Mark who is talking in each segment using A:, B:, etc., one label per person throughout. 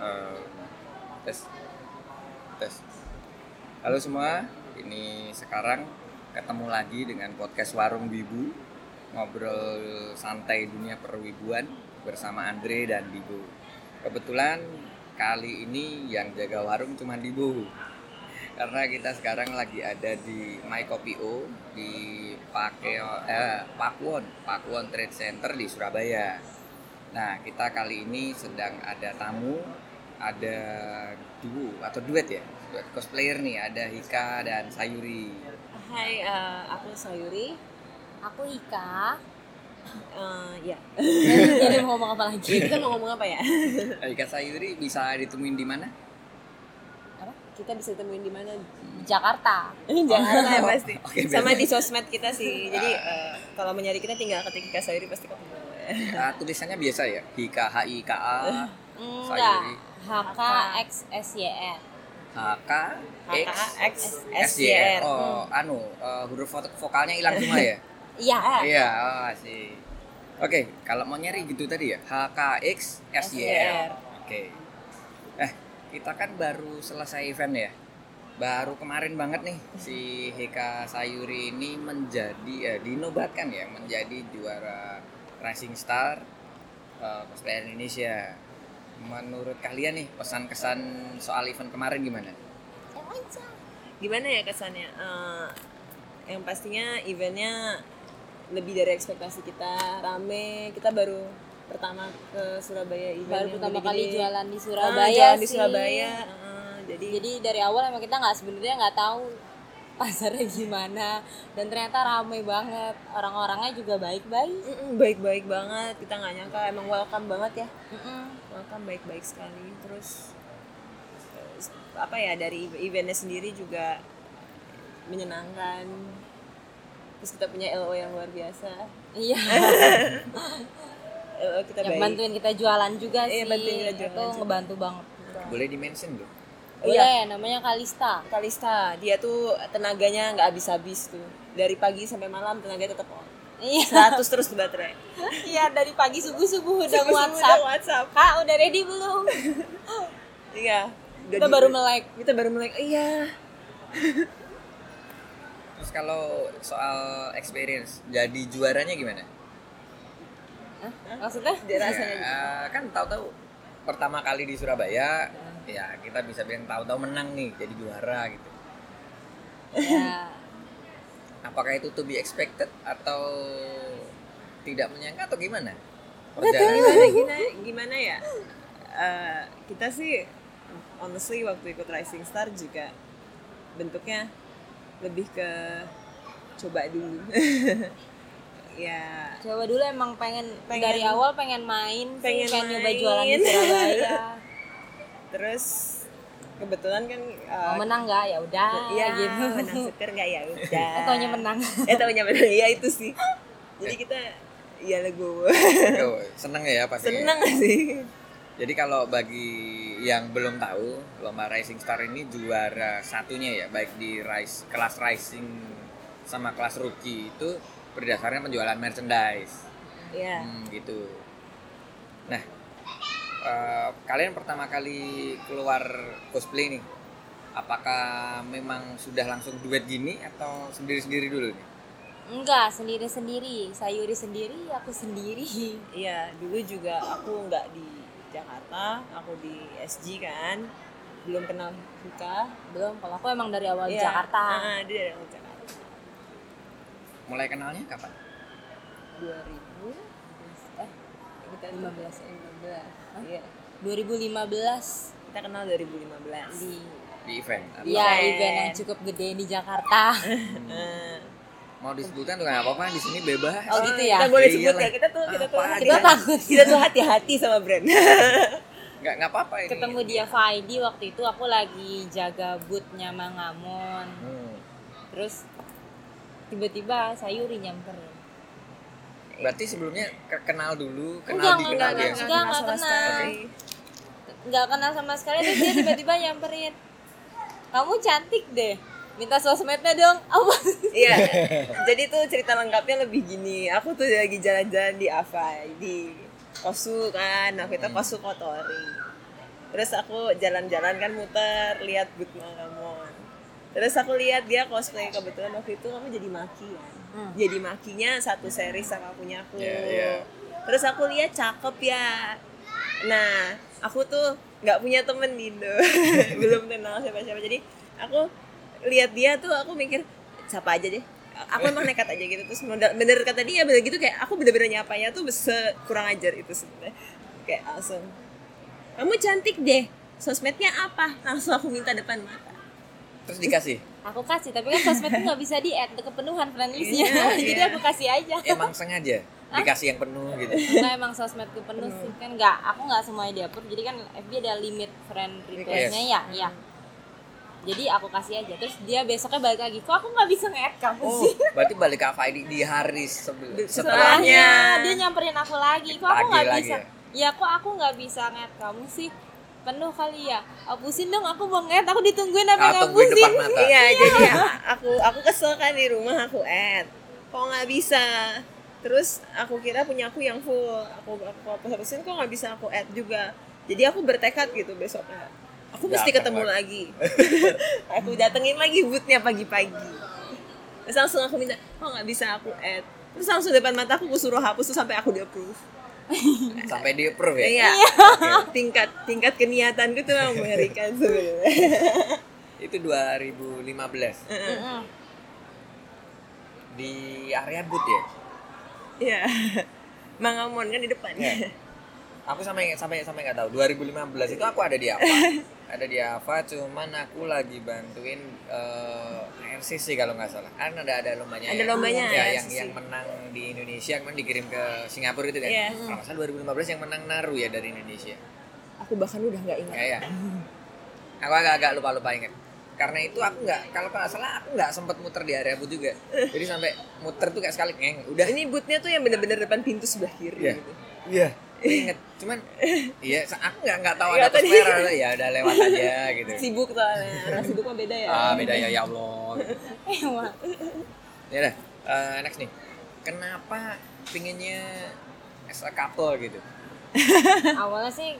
A: eh, tes tes. Halo semua, ini sekarang ketemu lagi dengan podcast Warung Wibu ngobrol santai dunia perwibuan bersama Andre dan Dibo. Kebetulan kali ini yang jaga warung cuma Dibo karena kita sekarang lagi ada di My Kopi O di Pakeo- eh, Pakuwon Pakuwon Trade Center di Surabaya. Nah kita kali ini sedang ada tamu, ada duo atau duet ya, duet cosplayer nih ada Hika dan Sayuri.
B: Hai, eh, aku Sayuri.
C: Aku Ika.
B: Eh, ya. Jadi mau ngomong apa lagi? Kita mau ngomong apa ya?
A: Eh, Hika Sayuri bisa ditemuin di mana?
B: Apa? Kita bisa temuin di mana?
C: Di Jakarta.
B: Jakarta ya pasti.
A: Oke,
B: Sama
A: benar.
B: di sosmed kita sih. Jadi eh, kalau mencari kita tinggal ketik Kak Sayuri pasti ketemu.
A: Eh, tulisannya biasa ya, Hika H I K A Sayuri
C: Enggak. HK XSYN.
A: H K X
B: Kakak X S
A: S Y
B: Y
A: R.
B: R. Hmm.
A: Oh, anu eh, huruf vok- vokalnya hilang semua ya?
C: Iya.
A: Iya, oh, sih. Oke, kalau mau nyari gitu tadi ya, HKX SYR.
B: SYR.
A: Oke. Eh, kita kan baru selesai event ya. Baru kemarin banget nih si Heka Sayuri ini menjadi eh, dinobatkan ya menjadi juara Rising Star eh, cosplayer Indonesia. Menurut kalian nih pesan kesan soal event kemarin gimana?
B: Gimana ya kesannya? Eh, yang pastinya eventnya lebih dari ekspektasi kita. Rame. Kita baru pertama ke Surabaya event
C: Baru
B: yang
C: pertama kali
B: gede-gede.
C: jualan di
B: Ah,
C: Surabaya
B: jualan di
C: sih.
B: Surabaya. eh, jadi
C: Jadi dari awal emang kita nggak sebenarnya nggak tahu pasarnya gimana dan ternyata ramai banget orang-orangnya juga baik-baik
B: Mm-mm, baik-baik banget kita nggak nyangka emang welcome banget ya
C: Mm-mm.
B: welcome baik-baik sekali terus eh, apa ya dari ev- eventnya sendiri juga menyenangkan terus kita punya LO yang luar biasa
C: iya
B: LO kita
C: yang
B: Eh, baik
C: bantuin kita jualan juga
B: Iya,
C: sih
B: bantuin kita jualan
C: itu
B: juga.
C: ngebantu banget
A: Boleh di-mention dong?
C: boleh
B: Iya.
C: namanya Kalista
B: Kalista dia tuh tenaganya nggak habis-habis tuh dari pagi sampai malam tenaga tetap on
C: iya
B: 100 terus tuh baterai
C: iya dari pagi subuh-subuh udah
B: Subuh-subuh
C: WhatsApp
B: udah WhatsApp
C: kak udah ready belum
B: iya
C: kita baru melek
B: kita baru melek iya
A: Terus kalau soal experience jadi juaranya gimana?
C: maksudnya
B: dia rasanya
A: Ya, eh, kan tahu-tahu pertama kali di Surabaya ya kita bisa bilang tahu-tahu menang nih jadi juara gitu.
C: ya
A: Apakah itu to be expected atau tidak menyangka atau gimana?
B: gimana
A: Perjalanan
B: gimana Nah, gimana ya Eh, kita sih honestly waktu ikut Rising Star juga bentuknya lebih ke coba dulu ya
C: coba dulu emang pengen,
B: Pengen-
C: dari awal pengen main sih,
B: pengen
C: pengen nyoba
B: main.
C: jualan di Surabaya
B: terus kebetulan kan eh,
C: mau menang nggak ya udah
B: ya
C: gitu
B: menang seker nggak ya udah
C: Eh, taunya menang
B: eh taunya menang ya itu sih jadi kita ya legowo
A: Oh, seneng ya pasti.
B: seneng sih
A: Jadi kalau bagi yang belum tahu, lomba Rising Star ini juara satunya ya, baik di rise, kelas Rising sama kelas Rookie itu berdasarkan penjualan merchandise.
B: ya
C: Iya.
A: Hmm, gitu. Nah, eh, kalian pertama kali keluar cosplay nih, apakah memang sudah langsung duet gini atau sendiri-sendiri dulu nih?
C: enggak sendiri sendiri sayuri sendiri aku sendiri
B: Iya, dulu juga aku nggak di Jakarta, aku di SG kan, belum kenal Hika.
C: belum kalau aku emang dari awal di
B: Iya,
C: Jakarta
B: ah, dia dari orang Jakarta.
A: Mulai kenalnya kapan?
B: 2000,
C: eh
B: kita
C: 15 eh, 15 Hah?
B: Iya,
C: 2015
B: kita kenal 2015.
C: di
A: Di event? Atau
C: ya
B: Event.
C: event yang cukup gede di Jakarta
B: Eh,
A: Mau disebutkan nggak apa-apa, di sini bebas.
C: Oh, gitu ya?
B: Kita boleh
A: Iya
B: sebut
A: lah.
B: ya, kita tuh kita tuh
A: Apa
B: hati-
C: kita takut
B: kita ya. tuh hati-hati sama brand.
A: Nggak nggak apa-apa ini.
C: ketemu dia Faidi waktu itu aku lagi jaga bootnya Mangamon
A: Hmm.
C: terus tiba-tiba Sayuri nyamper
A: Berarti sebelumnya ke- kenal dulu,
C: Enggak,
A: kenal di
C: enggak,
A: kenal
C: enggak,
A: dia.
C: enggak.
B: sama
C: kenal.
B: sekali.
C: nggak kenal sama sekali terus dia tiba-tiba nyamperin kamu cantik deh minta sosmednya dong apa
B: Iya. Jadi tuh cerita lengkapnya lebih gini. Aku tuh lagi
C: Hmm.
B: jalan-jalan di Avai di Kosu kan. Nah, kita Kosu Kotori. terus aku jalan-jalan kan muter lihat Good Malamon terus aku lihat dia cosplay kebetulan waktu itu kamu jadi maki kan
C: Hmm.
B: jadi makinya satu seri sama punya aku
A: Iya, iya.
B: terus aku lihat cakep ya nah aku tuh nggak punya temen di Indo belum kenal siapa-siapa jadi aku lihat dia tuh aku mikir siapa aja deh aku emang nekat aja gitu terus modal bener kata dia bener gitu kayak aku bener-bener nyapanya tuh bese- kurang ajar itu sebenarnya kayak langsung kamu cantik deh sosmednya apa langsung aku minta depan mata
A: Terus dikasih.
C: aku kasih tapi kan sosmed tuh nggak bisa di add kepenuhan friendlist-nya.
B: Iya,
C: jadi
B: iya.
C: aku kasih aja
A: Emang sengaja dikasih yang penuh gitu.
C: Karena emang sosmedku penuh sih kan nggak aku nggak semuanya di approve jadi kan FB ada limit friend request-nya
A: Request.
C: ya ya jadi aku kasih aja terus dia besoknya balik lagi kok aku nggak bisa nge-add kamu
A: Oh,
C: sih
A: berarti balik ke Faidi di hari sebelum setelah.
B: Setelah.
C: Soalnya
B: Setelahnya.
C: Iya, dia nyamperin aku lagi kok aku
A: Tagih
C: nggak
A: lagi
C: bisa ya kok aku nggak bisa nge-add kamu sih penuh kali ya hapusin dong aku mau nge-add aku ditungguin sampai
A: Ah, tungguin
C: ngapusin
A: depan mata.
B: Iya, jadi a- aku aku kesel kan di rumah aku add. Kok nggak bisa? Terus aku kira punya aku yang full. Aku aku aku harusin kok nggak bisa aku add juga. Jadi aku bertekad gitu besoknya. Aku mesti
A: Datang
B: ketemu lagi. aku datengin lagi bootnya pagi-pagi. Terus langsung aku minta, kok nggak bisa aku add? Terus langsung depan mata aku suruh hapus tuh sampai aku di approve.
A: Sampai di approve ya.
B: Iya. tingkat tingkat keniatanku tuh memang mengerikan sebenarnya.
A: Itu 2015
C: Mm-mm.
A: di area boot ya.
B: Iya. Mangamon kan di depan.
A: Iya. Aku sampai sampai sampai nggak tahu 2015 itu aku ada di apa? ada di apa? Cuman aku lagi bantuin eh RCC kalau nggak salah. Kan ada ada lombanya.
B: Ada
A: ya.
B: lombanya,
A: ya, yang
B: RCC.
A: yang menang di Indonesia kemudian dikirim ke Singapura itu kan.
B: Iya.
A: Kalau nggak salah 2015 yang menang Naru ya dari Indonesia.
B: Aku bahkan udah nggak ingat.
A: Kayak Ya, aku agak-agak lupa-lupa ingat. Karena itu aku nggak kalau nggak salah aku nggak sempet muter di area boot juga. Jadi sampai muter tuh kayak sekali ngeng udah
B: Ini bootnya tuh yang bener-bener depan pintu sebelah kiri.
A: Iya.
B: gitu.
A: Iya. Ingat, cuman iya sa- aku nggak nggak tahu ada
B: Nggak tadi. Iya.
A: pesera ya udah lewat aja gitu.
B: Sibuk soalnya. Orang sibuk mah beda ya.
A: Ah beda ya ya Allah.
C: Emang.
A: Ya udah, eh, next nih. Kenapa pinginnya as a couple gitu?
C: awalnya sih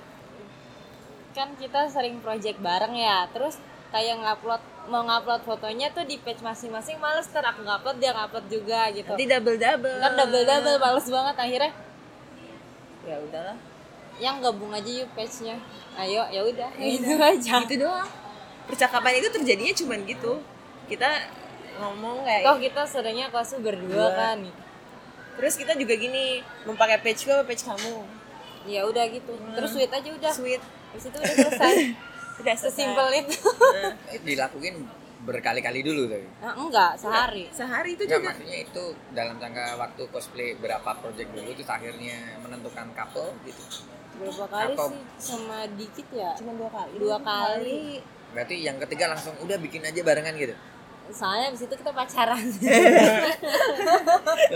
C: kan kita sering project bareng ya terus kayak ngupload mau ngupload fotonya tuh di page masing-masing males ter aku ngupload dia ngupload juga gitu
B: Nanti eh, double double.
C: ntar double double males banget akhirnya
B: Ya udahlah.
C: yang gabung aja yuk page-nya ayo ya udah gitu aja
B: Itu doang. Percakapan itu terjadinya cuman gitu. Kita ngomong kayak
C: toh kita seringnya kelas berdua kan
B: terus kita juga gini memakai page gua apa page kamu
C: ya udah gitu terus sweet aja udah
B: Hmm. sweet
C: habis itu udah selesai
B: udah selesai.
C: sesimpel itu
A: Eh, Dilakuin berkali-kali dulu tapi.
C: nah, enggak sehari
B: sehari itu
A: Nggak,
B: juga
A: maksudnya itu dalam jangka waktu cosplay berapa project dulu itu akhirnya menentukan couple gitu.
C: berapa kali
A: Atau-
C: sih sama dikit ya
B: cuma dua kali
C: dua kali
A: Berarti yang ketiga langsung udah bikin aja barengan gitu.
C: soalnya abis itu kita pacaran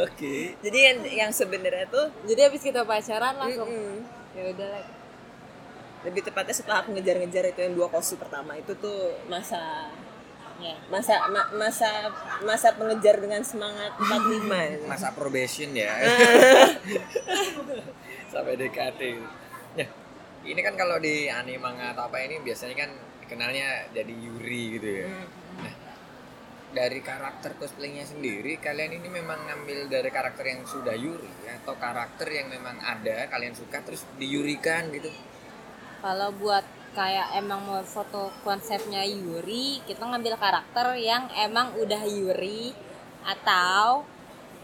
A: Oke.
B: jadi yang, yang sebenarnya tuh
C: jadi abis kita pacaran langsung
B: mm,
C: ya udah lah
B: lebih tepatnya setelah aku ngejar-ngejar itu yang dua kosi pertama itu tuh masa
C: ya
B: masa ma- masa masa pengejar dengan semangat 45
A: masa probation ya sampai DKT ya ini kan kalau di anime manga atau apa ini biasanya kan kenalnya jadi Yuri gitu ya
B: Hmm.
A: nah dari karakter cosplaynya sendiri kalian ini memang ngambil dari karakter yang sudah Yuri atau karakter yang memang ada kalian suka terus diyurikan gitu
C: kalau buat kayak emang mau foto konsepnya Yuri kita ngambil karakter yang emang udah Yuri atau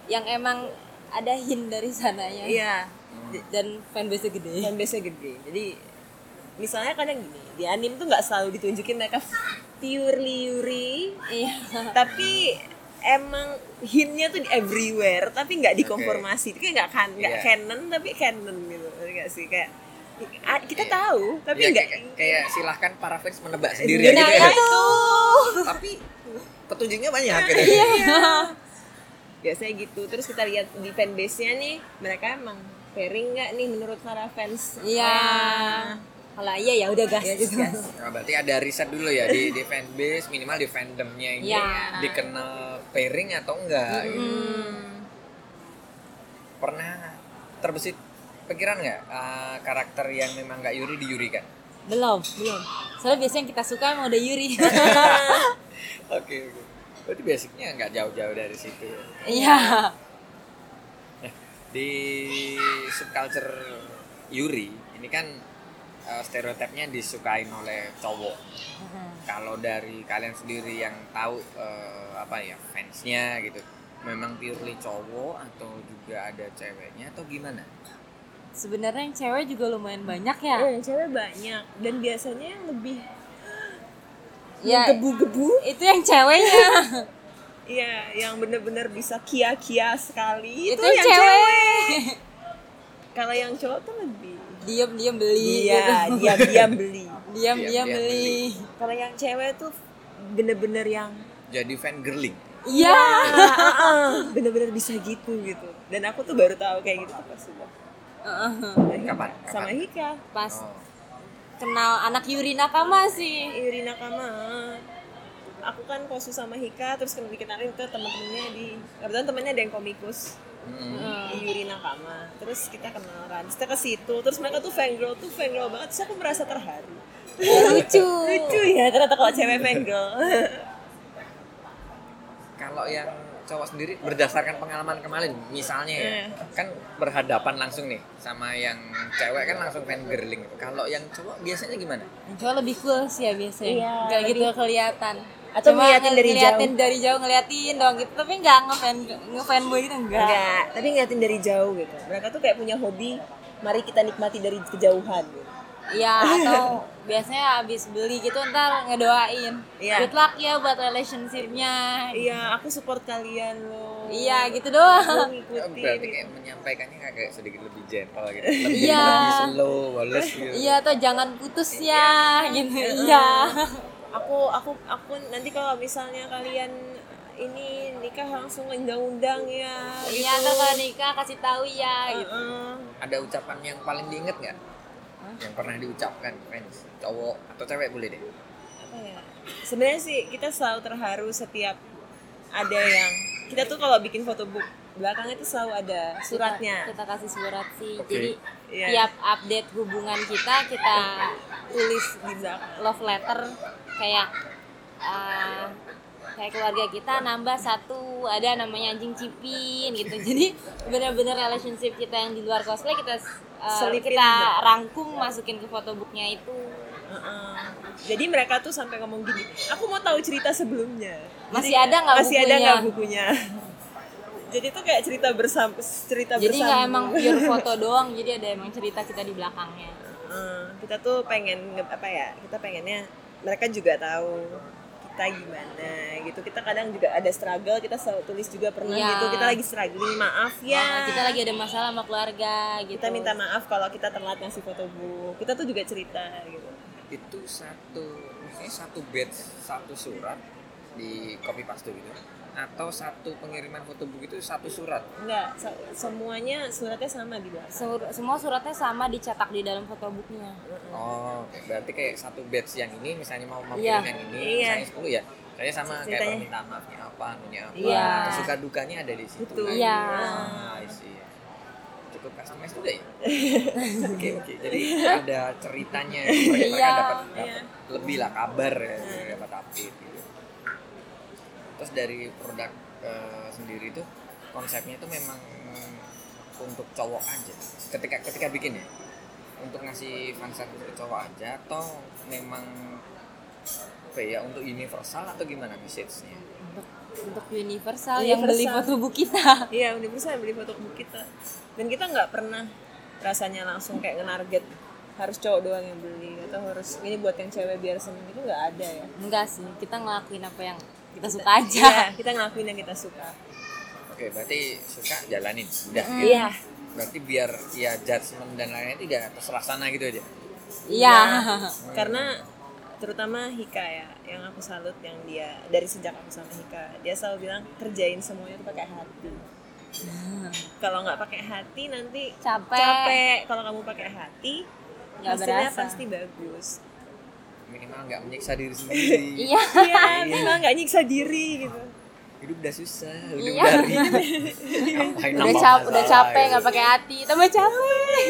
C: yang emang ada hint dari sananya
B: iya
C: dan fanbase gede
B: dan biasanya gede jadi misalnya kadang gini di anime tuh nggak selalu ditunjukin mereka purely yuri
C: iya
B: tapi emang hintnya tuh di everywhere tapi nggak dikonformasi itu kayak nggak kan nggak
A: Iya.
B: canon tapi canon gitu ngerti nggak sih kayak ah, kita
A: Iya.
B: tahu tapi
A: Ya,
B: nggak Eh,
A: kayak, kayak silahkan para fans menebak sendiri aja
C: nah
A: gitu ya.
C: itu
A: tapi petunjuknya banyak gitu
B: Iya.
C: Iya.
B: biasanya gitu terus kita lihat di fanbase-nya nih mereka emang pairing nggak nih menurut para fans
C: iya kalau iya ya udah gas
B: Ya,
C: gitu
B: gas.
A: Nah, berarti ada riset dulu ya di, di fanbase minimal di fandomnya ini ya.
C: Iya.
A: dikenal pairing atau enggak gitu. pernah terbesit pikiran nggak eh, karakter yang memang nggak Yuri diyurikan
C: Belum, belum. Soalnya biasanya yang kita suka emang udah Yuri.
A: oke oke berarti basicnya nggak jauh-jauh dari situ ya
C: Iya.
A: di subculture Yuri ini kan eh, stereotipnya disukain oleh cowok kalau dari kalian sendiri yang tahu eh, apa ya fansnya gitu memang purely cowok atau juga ada ceweknya atau gimana
C: Sebenarnya yang cewek juga lumayan banyak ya.
B: Eh, yang cewek banyak dan biasanya yang lebih
C: Ya,
B: gebu-gebu
C: itu yang ceweknya.
B: Iya, yang bener-bener bisa kia-kia sekali
C: itu,
B: itu,
C: yang cewek.
B: Kalau yang cowok tuh lebih
C: Diam-diam beli.
B: Iya,
C: gitu.
B: diam-diam beli.
C: Diam-diam
A: Diam-diam
C: beli.
B: Kalau yang cewek tuh bener-bener yang
A: jadi fan girling
C: Iya.
B: ah, ah, ah, bener-bener bisa gitu gitu. Dan aku tuh baru tahu kayak gitu tuh pas udah
C: Iya.
A: Kapan?
B: sama
A: Kapan?
B: Hika.
C: Pas
A: oh.
C: kenal anak Yuri Nakama sih.
B: Irina Kama. Aku kan kosu sama Hika terus kan kena dikenalin ke teman-temannya di kebetulan temannya ada yang komikus
A: Mm.
B: di Yurina Kama terus kita kenalan kita ke situ terus mereka tuh fangirl tuh fangirl banget terus aku merasa terharu
C: Lucu.
B: lucu ya ternyata kalau cewek fangirl
A: kalau yang cowok sendiri berdasarkan pengalaman kemarin misalnya ya,
B: Eh.
A: kan berhadapan langsung nih sama yang cewek kan langsung fan girling kalau yang cowok biasanya gimana
C: Yang cowok lebih cool sih ya biasanya.
B: Iya,
C: Nggak gitu kelihatan.
B: Atau
C: Cuma
B: ngeliatin dari
C: ngeliatin
B: jauh.
C: dari jauh ngeliatin doang gitu, tapi nggak ngefan ngefanboy gitu enggak.
B: enggak tapi ngeliatin dari jauh gitu mereka tuh kayak punya hobi mari kita nikmati dari kejauhan gitu.
C: Iya, atau biasanya habis beli gitu ntar ngedoain.
B: Iya.
C: Good luck ya buat relationship-nya.
B: iya aku support kalian loh
C: Iya, gitu doang.
B: aku
A: berarti
B: ngikutin
A: kayak menyampaikannya kayak sedikit lebih gentle gitu lebih,
C: Iya.
A: lebih slow wales gitu
C: Iya, atau jangan putus ya gitu. Iya.
B: aku aku aku nanti kalau misalnya kalian eh, ini nikah langsung undang-undang ya
C: Iya, atau kalau nikah kasih tahu ya gitu.
B: Heeh.
A: ada ucapan yang paling diinget nggak yang pernah diucapkan fans cowok atau cewek boleh deh
B: apa ya sebenarnya sih kita selalu terharu setiap ada yang kita tuh kalau bikin photobook belakangnya tuh selalu ada
C: Kita,
B: suratnya
C: kita kasih surat sih.
A: Oke.
C: Jadi
B: Iya.
C: tiap update hubungan kita kita tulis di
B: belakang.
C: love letter kayak uh, kayak keluarga kita nambah satu ada namanya anjing cipin gitu jadi benar-benar relationship kita yang di luar cosplay kita uh,
B: Selipin
C: kita
B: gitu.
C: rangkum masukin ke photobooknya itu
B: Heeh. jadi mereka tuh sampai ngomong gini aku mau tahu cerita sebelumnya
C: Masih ada nggak
B: masih ada
C: bukunya?"
B: nggak bukunya jadi tuh kayak cerita bersama cerita
C: jadi
B: bersama
C: nggak emang pure foto doang jadi ada emang cerita kita di belakangnya
B: Heeh. Eh, kita tuh pengen nge- apa ya kita pengennya mereka juga tahu kita gimana gitu kita kadang juga ada struggle kita selalu tulis juga pernah
C: Iya.
B: gitu kita lagi struggling maaf ya
C: Nah, kita lagi ada masalah sama keluarga gitu
B: kita minta maaf kalau kita telat ngasih foto bu kita tuh juga cerita gitu
A: itu satu maksudnya satu batch satu surat di copy paste gitu atau satu pengiriman fotobook itu satu surat
B: enggak se- semuanya suratnya sama di belakang
C: Sur- semua suratnya sama dicetak di dalam photobooknya
A: Oh, oke. berarti kayak satu batch yang ini misalnya mau mau
C: Iya.
A: kirim yang ini,
B: Iya.
A: misalnya 10 ya. Saya sama kayak
B: Ceritanya.
A: permintaan maafnya apa, anunya apa,
C: Iya.
A: suka dukanya ada di situ.
B: Betul.
A: kan?
C: Iya.
A: Ah, I see. Cukup customize juga ya. Oke, oke. Jadi ada ceritanya mereka
C: Iya.
A: dapat, dapat
B: Iya.
A: lebih lah kabar ya, dapat update gitu. Terus dari produk eh, sendiri tuh konsepnya tuh memang eh, untuk cowok aja. Ketika ketika bikin ya untuk ngasih fanset ke cowok aja atau memang apa ya untuk universal atau gimana message-nya?
C: untuk untuk universal, yang beli
B: Universal.
C: fotobook kita
B: iya udah bisa beli foto bu kita dan kita nggak pernah rasanya langsung kayak nge-target harus cowok doang yang beli atau harus ini buat yang cewek biar seneng itu nggak ada ya
C: enggak sih kita ngelakuin apa yang kita suka aja
B: Iya, kita ngelakuin yang kita suka
A: Oke, berarti suka jalanin. Udah. gitu.
B: iya
A: Berarti biar ya judgement dan lainnya itu udah terserah sana gitu aja.
C: iya
B: karena terutama Hika ya yang aku salut yang dia dari sejak aku sama Hika dia selalu bilang kerjain semuanya tuh pakai hati kalau nggak pakai hati nanti
C: Nah. Capek.
B: capek. kalau kamu pakai hati
C: Nggak
B: hasilnya
C: berasa.
B: pasti bagus
A: Minimal nggak menyiksa diri sendiri.
C: iya
B: iya memang nggak nyiksa diri gitu
A: Hidup udah susah, udah
C: Iya.
A: dari. Ngapain
C: udah
A: nambah
C: cap udah
A: masalah
C: capek
A: gitu.
C: nggak pakai hati tambah capek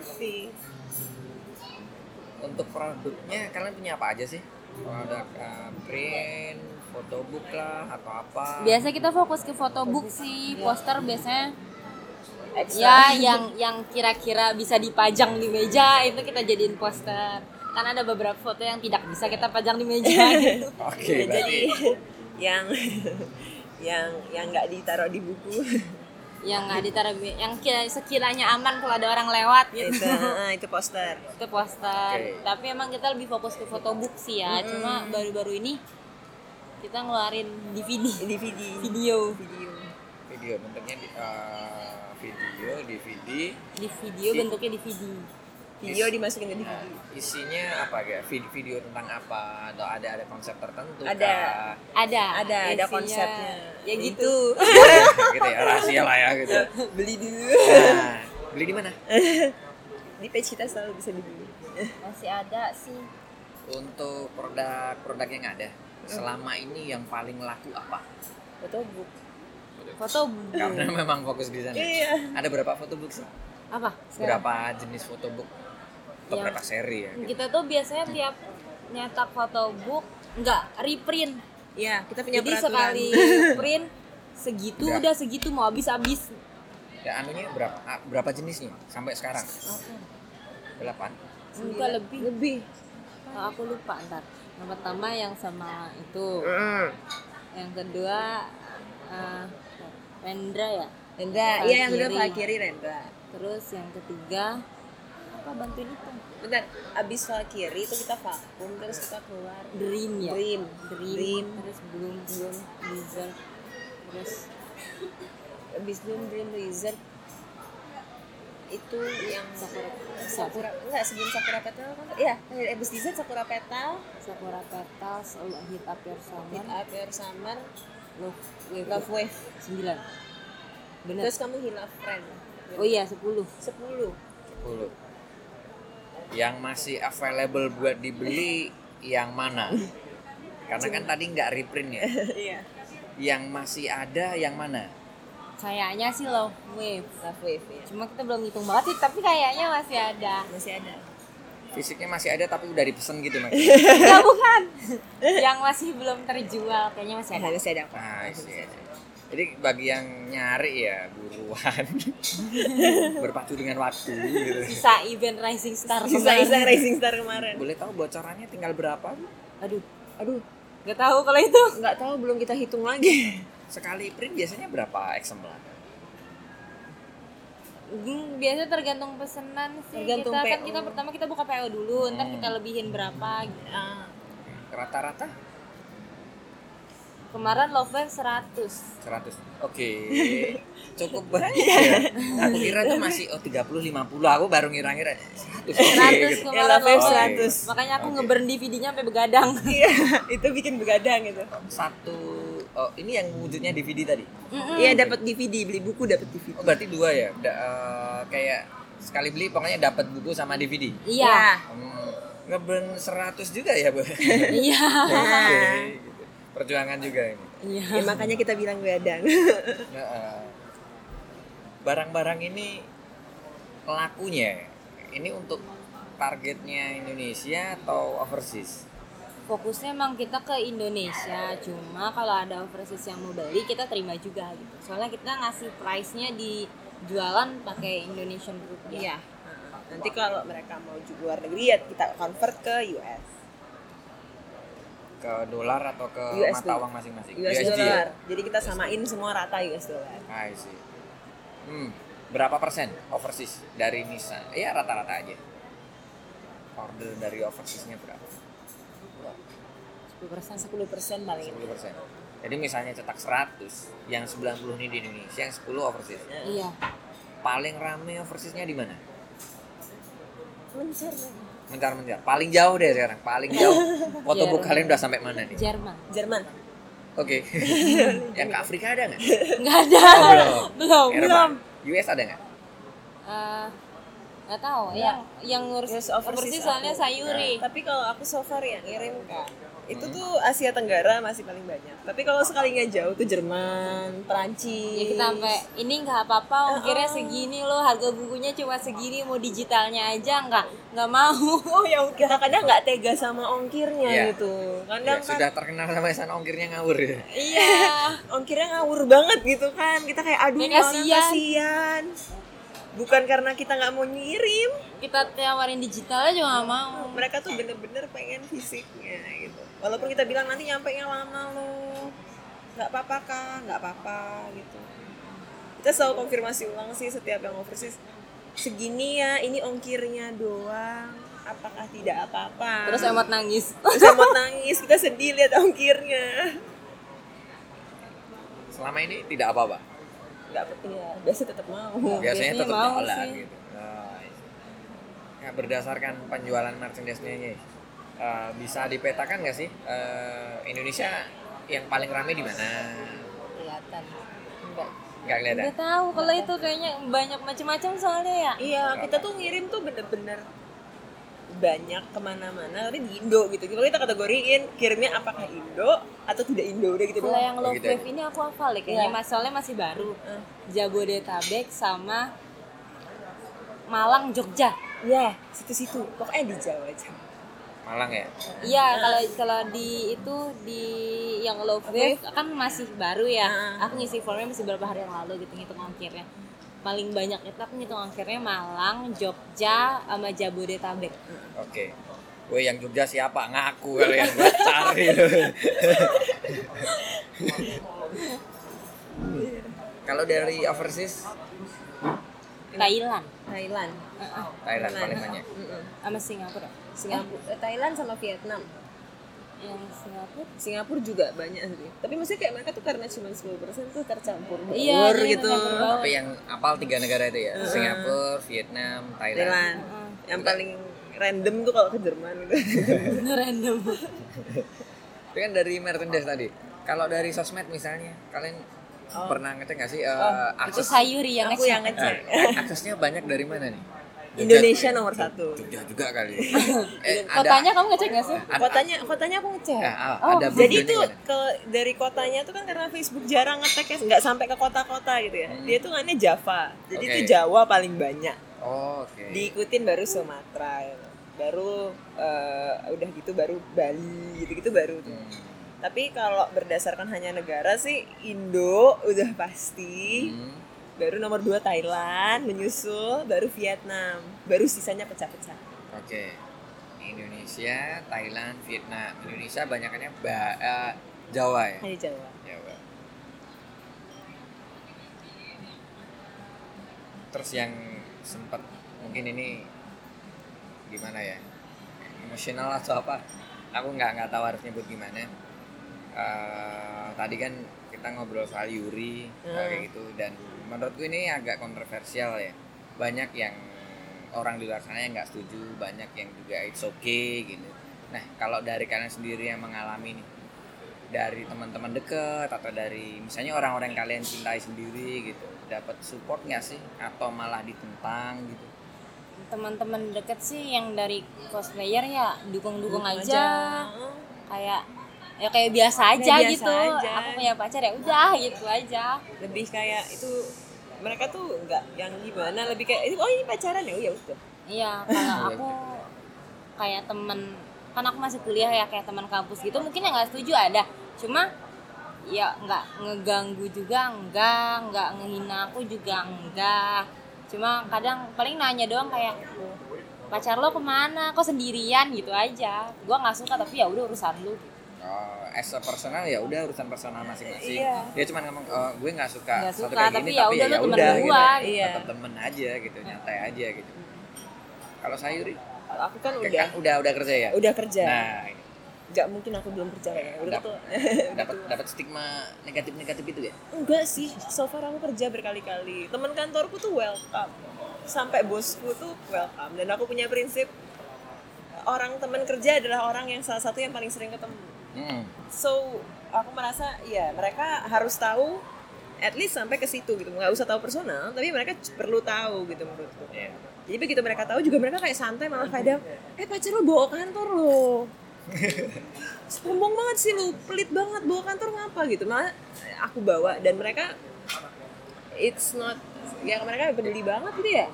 B: Tapi,
A: untuk produknya kalian punya apa aja sih? Produk eh, print, photobook lah atau apa?
C: Biasa kita fokus ke photobook sih,
B: Iya.
C: poster biasanya
B: Extra.
C: ya yang yang kira-kira bisa dipajang di meja itu kita jadiin poster. Kan ada beberapa foto yang tidak bisa kita pajang di meja gitu.
A: Oke,
B: jadi
A: berarti
B: yang yang yang nggak ditaruh di buku
C: yang nggak ditaruh di- yang kira- sekiranya aman kalau ada orang lewat gitu.
B: itu ah, itu poster
C: itu poster
A: Oke.
C: tapi emang kita lebih fokus ke photobook sih ya cuma baru-baru ini kita ngeluarin DVD
B: DVD
C: video
B: video
A: video bentuknya di, eh, video, DVD,
C: di video oh, bentuknya DVD
B: video dimasukin ke DVD
A: Nah, isinya apa ya? Vid- Video tentang apa? Atau ada ada konsep tertentu?
B: Ada.
A: kah?
C: ada
B: ada ada
C: isinya.
B: konsepnya
C: ya gitu
A: gitu ya rahasia lah ya gitu.
B: beli dulu
A: Nah, beli di mana?
B: di page kita selalu bisa dibeli
C: masih ada sih
A: Untuk produk-produk yang ada
C: Hmm.
A: selama ini yang paling laku apa?
B: photobook
C: fotobook
A: Karena memang fokus di sana.
B: iya
A: Ada berapa photobook sih?
C: apa sekarang?
A: Berapa jenis photobook? Atau
C: Yang-
A: berapa seri ya? Gitu.
C: kita tuh biasanya tiap nyetak fotobook nggak reprint
B: iya kita punya
C: jadi
B: peraturan
C: sekali print segitu
A: Udah.
C: udah segitu mau habis habis
A: Ya anunya berapa ah, berapa jenisnya sampai sekarang? Delapan.
C: Enggak lebih.
B: lebih
C: Oh, aku lupa ntar. Yang pertama yang sama itu, yang kedua eh Rendra ya.
B: Rendra
C: File
B: iya yang udah
C: kiri.
B: file kiri Rendra
C: Terus yang ketiga apa bantuin itu?
B: bentar abis file kiri itu kita vakum terus kita keluar
C: Dream ya.
B: dream
C: Dream.
B: dream
C: Terus belum belum Blizzard. Terus
B: abis dream dream lizard itu yang
C: Sakura-
B: sakura enggak sebelum sakura petal kan iya abis lizard sakura petal
C: Sakura Petals, All Hit Up Your Summer,
B: hit up your summer
C: Love Wave.
B: love wave
C: Sembilan. Bener.
B: terus kamu hilaf friend
C: oh iya sepuluh.
B: sepuluh
A: Sepuluh. Yang masih available buat dibeli yang mana? Karena kan tadi nggak reprint ya.
B: iya
A: Yang masih ada yang mana?
C: Kayaknya sih Love Wave.
B: love wave ya
C: Cuma kita belum hitung banget sih, tapi kayaknya masih ada.
B: masih ada
A: Fisiknya masih ada tapi udah dipesen gitu mas.
C: Enggak bukan. Yang masih belum terjual kayaknya masih ada.
B: harus ada kok
A: Nah, iya. Jadi bagi yang nyari ya buruan berpacu dengan waktu. Gitu.
C: Sisa event Rising Star
B: sisa sisa
C: kemarin.
B: racing star kemarin
A: Boleh tahu bocorannya tinggal berapa? Bu?
C: Aduh,
B: aduh
C: enggak tahu kalau itu.
B: nggak tahu belum kita hitung lagi
A: Sekali print biasanya berapa eksemplar?
C: Hmm, Biasa tergantung pesanan sih.
B: Tergantung
C: kita kan
B: PO.
C: kita pertama kita buka PO dulu, ntar
A: Hmm.
C: kita lebihin berapa gitu.
B: ah,
A: Rata-rata
C: Kemarin Love Wave 100.
A: 100. Oke. Cukup banyak ya. Aku kira tuh masih oh 30 50 aku baru ngira-ngira 100. Oke,
C: 100
A: gitu.
C: kemarin
B: Love Wave
C: Wave.
A: 100.
C: Makanya aku
A: Oke.
C: ngeburn DVD-nya sampai begadang.
B: iya itu bikin begadang gitu
A: Satu oh, ini yang wujudnya DVD tadi.
B: iya dapat DVD beli buku dapat DVD
A: Oh, berarti dua ya. Da- eh, kayak sekali beli pokoknya dapat buku sama DVD.
C: Iya.
A: Hmm, ngeburn 100 juga ya, Bu.
C: Iya.
A: Oke, gitu. Perjuangan juga ini.
B: Ya,
C: Iya.
B: makanya kita bilang begadang
A: Nah, eh, barang-barang ini lakunya ini untuk targetnya Indonesia atau overseas?
C: Fokusnya emang kita ke Indonesia, cuma kalau ada overseas yang mau beli kita terima juga gitu. Soalnya kita ngasih price-nya di jualan pakai Indonesian ya. rupiah.
B: iya nanti kalau mereka mau ju- luar negeri ya kita convert ke US
A: Ke dolar atau ke
B: USD.
A: mata uang masing-masing?
B: US
A: USD ya? Ah,
B: dollar jadi kita samain semua rata US dollar
A: I see. Hmm, berapa persen overseas dari Nisa? Ya rata-rata aja. Order dari overseasnya berapa?
C: 10%.
B: 10% paling
A: 10 persen. Jadi misalnya cetak 100, yang 90 ini di Indonesia, yang 10 overseas.
C: Iya.
A: Paling rame overseasnya di mana?
B: mencar
A: mencar-mencar paling jauh deh sekarang paling jauh fotobook
C: Jarang.
A: kalian udah sampai mana nih oke
C: Jerman.
B: Jerman
A: yang ke Afrika ada nggak
C: Enggak ada.
A: Oh, belum
C: belum,
A: Eropa.
C: belum.
A: US ada nggak
C: Eh, nggak tahu
A: Nggak.
C: yang yang ngurus
B: Yes,
C: overseas,
B: overseas
C: soalnya
B: aku.
C: sayuri
B: Tapi kalau aku so far yang ngirim kak, itu tuh Asia Tenggara masih paling banyak. Tapi kalau sekalinya jauh tuh Jerman, Perancis.
C: ya kita sampai ini nggak apa-apa ongkirnya segini loh harga bukunya cuma segini mau digitalnya aja nggak nggak mau
B: Oh ya udah. Kita kadang nggak tega sama ongkirnya
A: Iya.
B: gitu.
A: Ya,
B: Kadang kan
A: sudah terkenal sama sana ongkirnya ngawur ya.
C: iya
B: ongkirnya ngawur banget gitu kan. Kita kayak aduh
C: Dan
B: nih orang
C: kasihan."
B: kasihan. Bukan karena kita nggak mau ngirim,
C: kita tawarin digitalnya juga nggak mau
B: mereka tuh bener-bener pengen fisiknya gitu. Walaupun kita bilang nanti nyampe nya lama lo, nggak apa-apa kak, nggak apa-apa gitu. Kita selalu konfirmasi ulang sih setiap yang overseas. Segini ya, ini ongkirnya doang. Apakah tidak apa-apa?
C: terus emot nangis
B: Terus emot nangis, kita sedih lihat ongkirnya.
A: Selama ini tidak apa-apa.
B: nggak ya biasa tetap mau
A: Biasanya
C: Oh, Biasanya
A: tetap
C: mau
A: jalan
C: sih.
A: gitu. Nah, ya, berdasarkan penjualan merchandise-nya Nyai, eh, bisa dipetakan nggak sih eh, Indonesia yang paling ramai di mana?
C: kelihatan nggak
A: Nggak kelihatan.
C: nggak tahu kalau itu kayaknya banyak macam-macam soalnya ya
B: iya kita tuh ngirim tuh bener-bener banyak kemana-mana tapi di Indo gitu Cuma kita kategoriin kirimnya apakah Indo atau tidak Indo udah gitu
C: Kalau
B: doang
C: yang love
A: Begitu
C: wave
A: aja.
C: ini aku hafal deh kayaknya
B: Iya.
C: mas soalnya masih baru
B: Eh,
C: Jabodetabek sama Malang Jogja
B: ya situ-situ pokoknya di Jawa aja
A: Malang ya.
C: Iya, kalau kalau di itu di yang low wave kan masih baru ya. Aku ngisi formnya masih beberapa hari yang lalu gitu ngitung ongkirnya. Paling banyak itu aku ngitung ongkirnya Malang, Jogja, sama Jabodetabek.
A: Oke. Woi yang Jogja siapa? Ngaku kali ya. Gua cari lu. Kalau dari overseas
C: Thailand,
B: Thailand
C: Heeh,
A: Thailand paling banyak.
B: Mm-mm.
C: sama Singapura.
B: Singapura eh, Thailand sama Vietnam
C: Yang Singapura
B: Singapura juga banyak sih tapi maksudnya kayak mereka tuh karena cuma 10% tuh tercampur
C: Iya,
B: baur
C: jadi
B: gitu
C: tercampur baur.
A: Tapi yang apal tiga negara itu ya. Singapura, Vietnam, Thailand.
B: Thailand yang paling random tuh kalau ke Jerman gitu
C: bener random.
A: Itu kan dari merchandise tadi. Kalau dari sosmed misalnya, kalian pernah ngecek nggak sih eh,
C: Oh, Itu
A: akses
C: sayuri yang
B: aku yang ngecek
A: eh, aksesnya banyak dari mana nih? Jogja-
B: Indonesia nomor satu
A: Jogja juga kali. eh,
C: Kotanya kamu ngecek gak sih?
A: Ada-
B: kotanya kotanya aku ngecek
A: eh, ah,
C: Oh,
A: ada
B: jadi
A: videonya
B: itu
A: nggak?
B: ke dari kotanya tuh kan karena Facebook jarang ngetek ya nggak sampai ke kota-kota gitu ya dia tuh ngane Java jadi
A: Hmm. Oke.
B: itu Jawa paling banyak
A: Oh, oke.
B: diikutin baru Sumatera gitu. baru eh, udah gitu baru Bali gitu gitu baru
A: Hmm.
B: tuh. tapi kalau berdasarkan hanya negara sih Indo udah pasti
A: Hmm.
B: baru nomor dua Thailand menyusul baru Vietnam baru sisanya pecah-pecah
A: Oke. Indonesia, Thailand, Vietnam. Indonesia banyakannya ba eh, Jawa ya.
B: hanya Jawa
A: Jawa. Terus yang sempat mungkin ini gimana ya? Emosional atau apa? Aku nggak nggak tahu harus nyebut gimana. Eh, tadi kan kita ngobrol soal Yuri eh, kayak gitu dan menurutku ini agak kontroversial ya. Banyak yang orang di luar sana yang nggak setuju, banyak yang juga it's okay gitu. Nah, kalau dari kalian sendiri yang mengalami nih, dari teman-teman deket atau dari misalnya orang-orang yang kalian cintai sendiri gitu dapat support nggak sih atau malah ditentang gitu
C: Teman-teman deket sih yang dari cosplayer ya dukung-dukung aja.
B: Heeh.
C: kayak ya kayak biasa aja
B: Kayak biasa
C: gitu
B: aja.
C: aku punya pacar ya udah gitu aja
B: lebih kayak itu mereka tuh nggak yang gimana lebih kayak oh ini pacaran ya oh ya udah
C: iya kalau aku kayak temen kan aku masih kuliah ya kayak teman kampus gitu mungkin yang nggak setuju ada cuma ya nggak ngeganggu juga enggak nggak ngehina aku juga enggak cuma kadang paling nanya doang kayak pacar lo kemana kok sendirian gitu aja gua nggak suka tapi ya udah urusan lu
A: Oh, as a personal ya udah urusan personal masing-masing
B: Iya.
A: dia cuma ngomong "Oh, gue nggak suka
C: Nggak
A: satu
C: suka,
A: kayak
C: tapi
A: gini
C: ya
A: tapi ya
C: udah, lu temen
A: udah
C: gua,
A: gitu
B: iya.
A: tetap temen aja gitu nyantai aja gitu kalau sayuri
B: kalau aku kan udah
A: udah udah udah kerja ya
B: udah kerja
A: nah
B: nggak mungkin aku belum kerja ya udah
A: Dap-
B: tuh
A: dapat dapat stigma negatif negatif itu ya
B: enggak sih so far aku kerja berkali-kali teman kantorku tuh welcome sampai bosku tuh welcome dan aku punya prinsip orang teman kerja adalah orang yang salah satu yang paling sering ketemu
A: Hmm.
B: So aku merasa ya mereka harus tahu at least sampai ke situ gitu nggak usah tahu personal tapi mereka c- perlu tahu gitu menurutku.
A: Iya.
B: jadi begitu mereka tahu juga mereka kayak santai malah kadang eh pacar lo bawa kantor lo sombong banget sih lu pelit banget bawa kantor ngapa gitu malah aku bawa dan mereka it's not ya mereka peduli banget gitu ya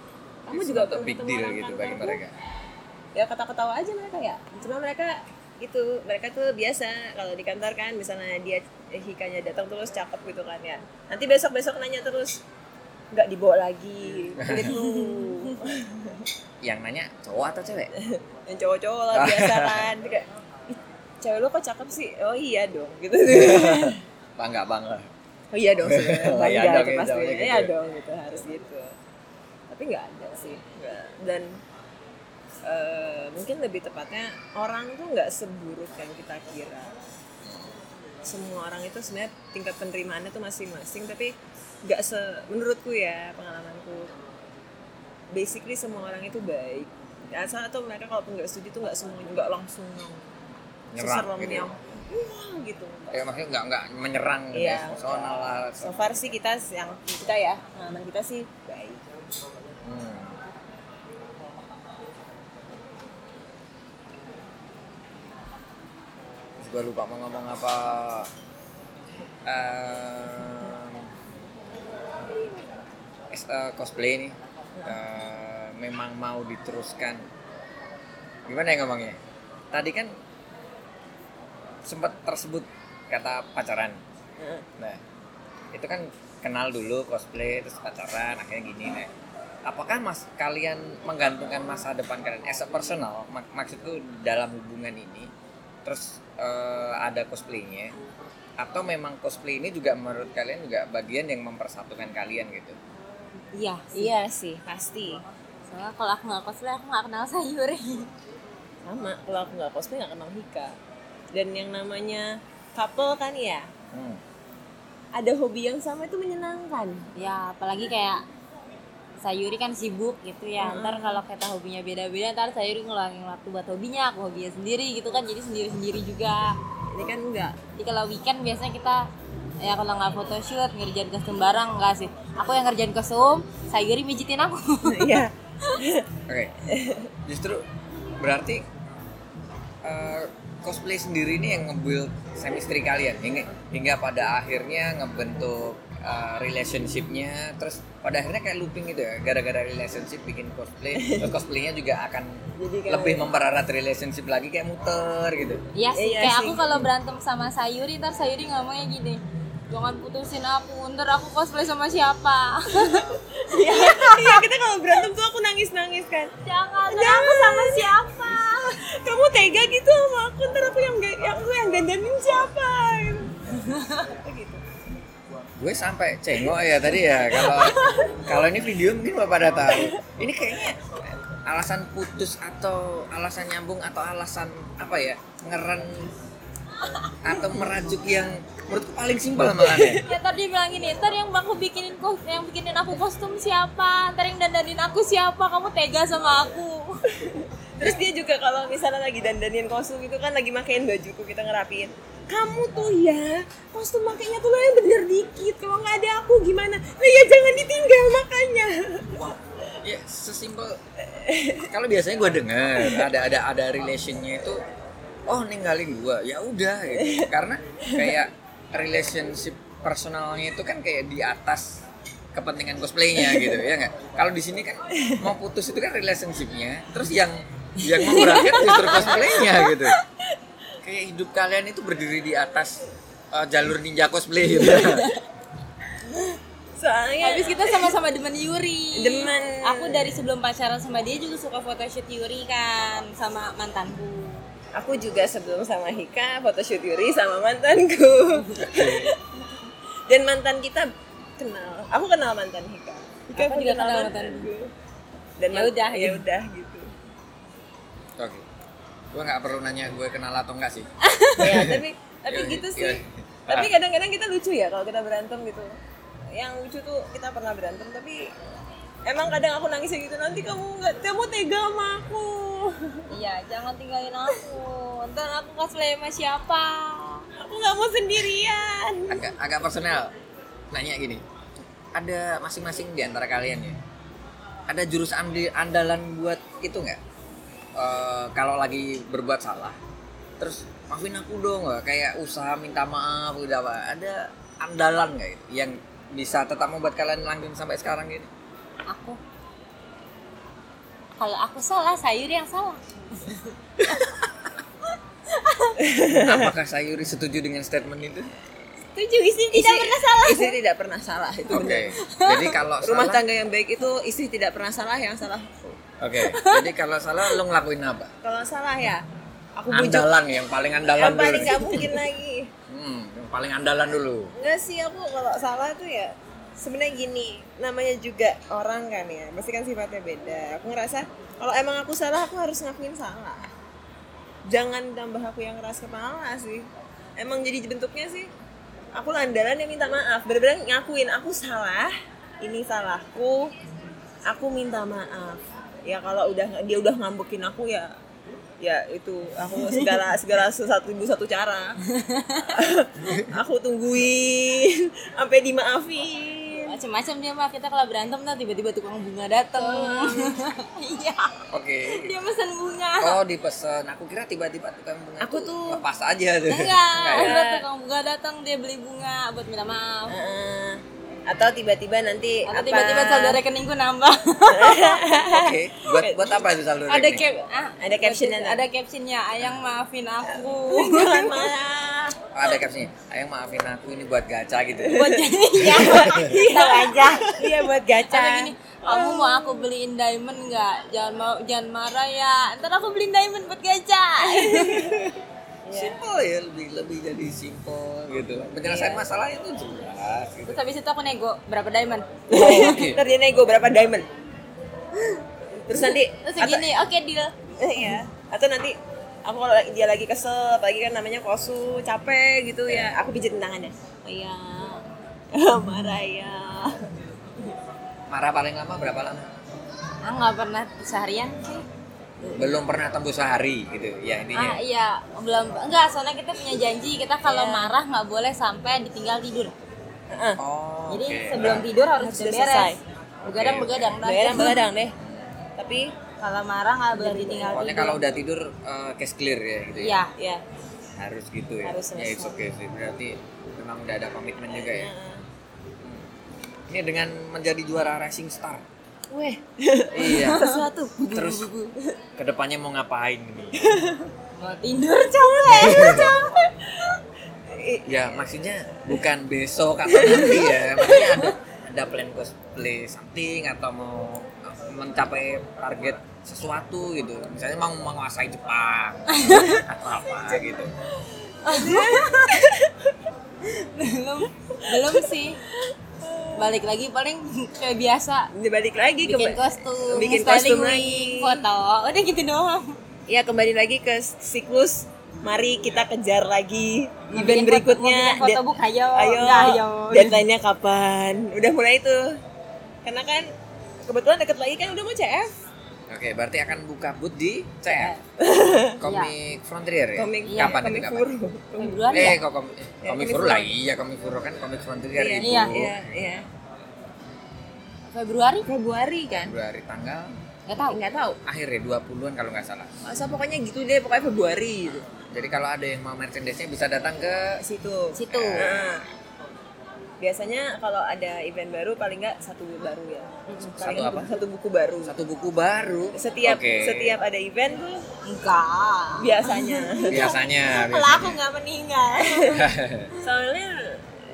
B: kamu
A: It's
B: juga
A: not a big
B: ketemu
A: deal
B: orang
A: gitu bagi
B: kantorku,
A: mereka.
B: ya ketawa-ketawa aja mereka ya cuma mereka itu mereka tuh biasa kalau di kantor kan misalnya dia eh, hikanya datang terus cakep gitu kan ya nanti besok besok nanya terus nggak dibawa lagi
A: Hmm.
B: gitu
A: Yang nanya cowok atau cewek?
B: yang cowok-cowok lah biasa kan kayak "Ih, cewek lo kok cakep sih oh iya dong gitu
A: Bangga bangga.
B: oh iya dong sebenarnya
A: Oh, iya dong,
B: bangga itu
A: ya,
B: pasti
A: jawabannya gitu
B: iya
A: ya.
B: dong gitu harus gitu tapi nggak ada sih Nggak. dan eh, mungkin lebih tepatnya orang tuh nggak seburuk yang kita kira semua orang itu sebenarnya tingkat penerimaannya tuh masing-masing tapi nggak se menurutku ya pengalamanku basically semua orang itu baik asal atau mereka kalaupun nggak setuju tuh nggak semua nggak langsung
A: Nyerang
B: seserem
A: gitu.
B: yang wah gitu nggak.
A: Ya maksudnya nggak nggak menyerang gitu ya,
B: Iya.
A: personal lah.
B: so far sih kita yang kita ya pengalaman kita sih baik
A: Hmm. Terus Gua lupa mau ngomong apa. Ehm, es- eh, cosplay nih eh, memang mau diteruskan. Gimana ya ngomongnya? Tadi kan sempat tersebut kata pacaran.
B: Heeh.
A: Nah, itu kan kenal dulu cosplay terus pacaran akhirnya gini nah. Apakah mas kalian menggantungkan masa depan kalian as a personal mak- maksudku dalam hubungan ini terus eh, ada cosplaynya atau memang cosplay ini juga menurut kalian juga bagian yang mempersatukan kalian gitu?
C: iya sih.
B: iya sih pasti
C: soalnya kalau aku nggak cosplay aku nggak kenal sayuri
B: sama kalau aku nggak cosplay nggak kenal Hika dan yang namanya couple kan ya
A: Hmm.
B: ada hobi yang sama itu menyenangkan
C: ya apalagi kayak Sayuri kan sibuk gitu ya
B: Mm-mm.
C: ntar kalau kita hobinya beda-beda ntar Sayuri ngeluangin waktu buat hobinya aku hobinya sendiri gitu kan jadi sendiri-sendiri juga
B: ini kan enggak
C: jadi kalau weekend biasanya kita ya kalau nggak photoshoot ngerjain kostum bareng enggak sih aku yang ngerjain kostum Sayuri mijitin aku
B: iya
A: Oke. Justru berarti eh, cosplay sendiri ini yang nge-build chemistry kalian hingga, hingga pada akhirnya ngebentuk eh, relationship-nya terus pada akhirnya kayak looping gitu ya gara-gara relationship bikin cosplay terus cosplaynya juga akan
B: Jadi kayak-
A: lebih mempererat relationship lagi kayak muter gitu
C: Iya sih,
B: Iya, iya
C: kayak
B: sih.
C: aku kalau berantem sama Sayuri, ntar Sayuri ngomongnya gini Jangan putusin aku, ntar aku cosplay sama siapa
B: iya iya kita kalau berantem tuh aku nangis nangis kan
C: Jangan, ntar aku sama siapa
B: kamu tega gitu sama aku ntar aku yang ga- aku yang dandanin siapa gitu. gitu
A: gue sampai cengok ya tadi ya kalau kalau ini video mungkin bapak pada tahu ini kayaknya alasan putus atau alasan nyambung atau alasan apa ya ngeren atau merajuk yang menurutku paling simpel malah ya
C: Ya ntar dia bilang gini, ntar yang aku bikinin kos- yang bikinin aku kostum siapa Ntar yang dandanin aku siapa, kamu tega sama aku
B: Terus dia juga kalau misalnya lagi dandanin kostum gitu kan lagi makain bajuku kita ngerapiin. Kamu tuh ya kostum makainya tuh lo yang bener dikit. Kalau nggak ada aku gimana? Nah ya jangan ditinggal makanya.
A: ya sesimpel kalau biasanya gue dengar ada ada ada relationnya itu oh ninggalin gue ya udah gitu. karena kayak relationship personalnya itu kan kayak di atas kepentingan cosplaynya gitu ya nggak kalau di sini kan mau putus itu kan relationshipnya terus yang yang memberatkan justru cosplaynya gitu kayak hidup kalian itu berdiri di atas eh, jalur ninja cosplay gitu
B: Soalnya
C: Habis kita sama-sama demen Yuri
B: Demen.
C: Aku dari sebelum pacaran sama dia juga suka photoshoot Yuri kan, sama mantanku
B: aku juga sebelum sama Hika photoshoot Yuri sama mantanku. Dan mantan kita kenal. Aku kenal mantan Hika. Hika
C: Aku
B: pun
C: juga kenal mantanku.
B: Dan
C: Ya udah,
B: ya
C: gitu.
B: udah gitu.
A: oke gue nggak perlu nanya gue kenal atau enggak sih
B: ya tapi tapi
A: Iya,
B: gitu
A: iya.
B: sih tapi kadang-kadang kita lucu ya kalau kita berantem gitu yang lucu tuh kita pernah berantem tapi emang kadang aku nangisnya gitu nanti kamu nggak kamu tega sama aku
C: Iya, jangan tinggalin aku. Ntar aku cosplay sama siapa?
B: aku nggak mau sendirian
A: agak agak personal nanya gini ada masing-masing di antara kalian ya ada jurus andi- andalan buat itu nggak? Eh, kalau lagi berbuat salah, terus maafin aku dong nggak? Kayak usaha minta maaf udah apa? Ada andalan nggak itu yang bisa tetap membuat kalian langgeng sampai sekarang ini?
C: aku kalau aku salah sayur yang salah
A: Apakah Sayuri setuju dengan statement itu?
C: setuju istri tidak
B: Istri-
C: pernah salah
B: Istri tidak pernah salah itu
A: Oke.
B: benar.
A: Jadi kalau
B: Rumah
A: salah,
B: tangga yang baik itu istri tidak pernah salah yang salah.
A: oke. Jadi kalau salah lo ngelakuin apa?
B: Kalau salah ya aku bujuk.
A: Andalan yang paling andalan
B: Yang
A: dulu.
B: paling nggak mungkin lagi.
A: Hmm, yang paling andalan dulu.
B: Enggak sih aku kalau salah tuh ya sebenarnya gini namanya juga orang kan ya pasti kan sifatnya beda aku ngerasa kalau emang aku salah aku harus ngakuin salah jangan tambah aku yang keras kepala sih emang jadi bentuknya sih aku landalan yang minta maaf bener-bener ngakuin aku salah ini salahku aku minta maaf ya kalau udah dia udah ngambekin aku ya ya itu aku segala segala satu ibu satu cara aku tungguin sampai dimaafin
C: macam-macam dia mah kita kalau berantem tuh tiba-tiba tukang bunga dateng iya
A: Oke.
C: dia pesen bunga
A: Oh dipesan. Aku kira tiba-tiba tukang bunga
B: Aku
A: tuh
B: tuh-
A: lepas aja tuh.
C: enggak
A: Enggak ya?
C: ada tukang bunga datang dia beli bunga buat minta maaf
B: Eh, atau tiba-tiba nanti
C: atau
B: apa-
C: tiba-tiba saldo rekeningku nambah
A: Oke. Buat buat apa itu saldo
C: ada
A: rekening?
C: cap ah,
B: Ada captionnya.
C: ada captionnya ayang maafin aku
B: jangan marah
A: Oh, ada captionnya. Ayang maafin aku ini buat gacha gitu.
C: buat jadinya iya aja
B: iya buat gacha
C: Atau gini, kamu mau aku beliin diamond nggak? Jangan mau jangan marah ya. Ntar aku beliin diamond buat gacha.
A: Simple ya lebih lebih jadi simple gitu. Penyelesaian masalah itu jelas gitu.
C: Terus habis itu aku nego berapa diamond?
A: Oh, Oke.
B: ntar dia nego berapa diamond terus nanti
C: Terus segini, oke deal.
B: iya atau nanti aku kalau dia lagi kesel apalagi kan namanya kosu capek gitu
C: Iya.
B: ya aku pijitin tangannya
C: Oh iya.
B: marah ya
A: Marah paling lama berapa lama?
C: Ah nggak pernah seharian sih.
A: Belum pernah tembus sehari gitu. Ya
C: Ah
A: intinya.
C: iya belum enggak soalnya kita punya janji kita kalau marah nggak boleh sampai ditinggal tidur.
B: Heeh.
A: Oh.
C: Jadi
A: oke.
C: sebelum tidur harus
B: Harus
C: sudah
B: udah selesai.
C: beres. Begadang
A: Oke,
C: begadang. dah.
B: begadang begadang deh tapi
C: Kalau marah nggak boleh ditinggal
A: Pokoknya
C: tidur.
A: kalau udah tidur eh, case clear ya gitu ya.
C: Iya.
B: ya
A: Harus gitu ya.
B: Harus
A: ya it's
B: selesai. Iya.
A: okay sih. Berarti memang udah ada komitmen juga ya. Hmm.
B: Heeh.
A: Ini dengan menjadi juara racing star.
B: weh
A: iya.
B: sesuatu
A: Terus kedepannya mau ngapain nih?
C: Mau tidur capek. capek.
A: ya maksudnya bukan besok atau nanti ya. Maksudnya ada ada plan cosplay something atau mau eh, mencapai target sesuatu gitu. Misalnya mau menguasai Jepang atau apa gitu.
C: belum belum sih balik lagi paling kayak biasa
B: balik lagi ke
C: bikin kostum
B: bikin
C: styling
B: kostum lagi.
C: week, foto udah gitu doang
B: ya kembali lagi ke siklus mari kita kejar lagi
C: Mau
B: event
C: bikin
B: berikutnya
C: foto, mau bikin foto
B: Dead-
C: book ayo
B: ayo
C: Nggak, Nah, ayo
B: deadline-nya kapan udah mulai tuh karena kan kebetulan deket lagi kan udah mau CF
A: Oke, berarti akan buka booth di
B: Eh.
A: CF. Komik Frontier ya?
B: komik
C: Iya,
A: kapan
B: komik
A: itu kapan?
B: furu
C: Februari ya
A: Eh, kok komik,
B: Ya,
A: komik
B: komik
A: Furu
B: Furu.
A: lah, iya komik Furu kan komik Frontier
B: Iya,
A: itu.
C: iya,
B: iya iya
C: Februari
B: Februari kan
A: Februari tanggal
C: nggak tahu
B: nggak tahu
A: akhir ya 20-an kalau nggak salah.
B: masa pokoknya gitu deh pokoknya Februari gitu
A: Jadi kalau ada yang mau merchandise-nya bisa datang ke
B: situ
C: situ
B: Nah, biasanya kalau ada event baru paling nggak satu baru ya paling
A: apa?
B: satu buku baru
A: satu buku baru.
B: setiap
A: Oke.
B: setiap ada event tuh
C: enggak
B: biasanya
A: biasanya.
C: kalau aku
A: biasanya.
C: nggak meninggal
B: soalnya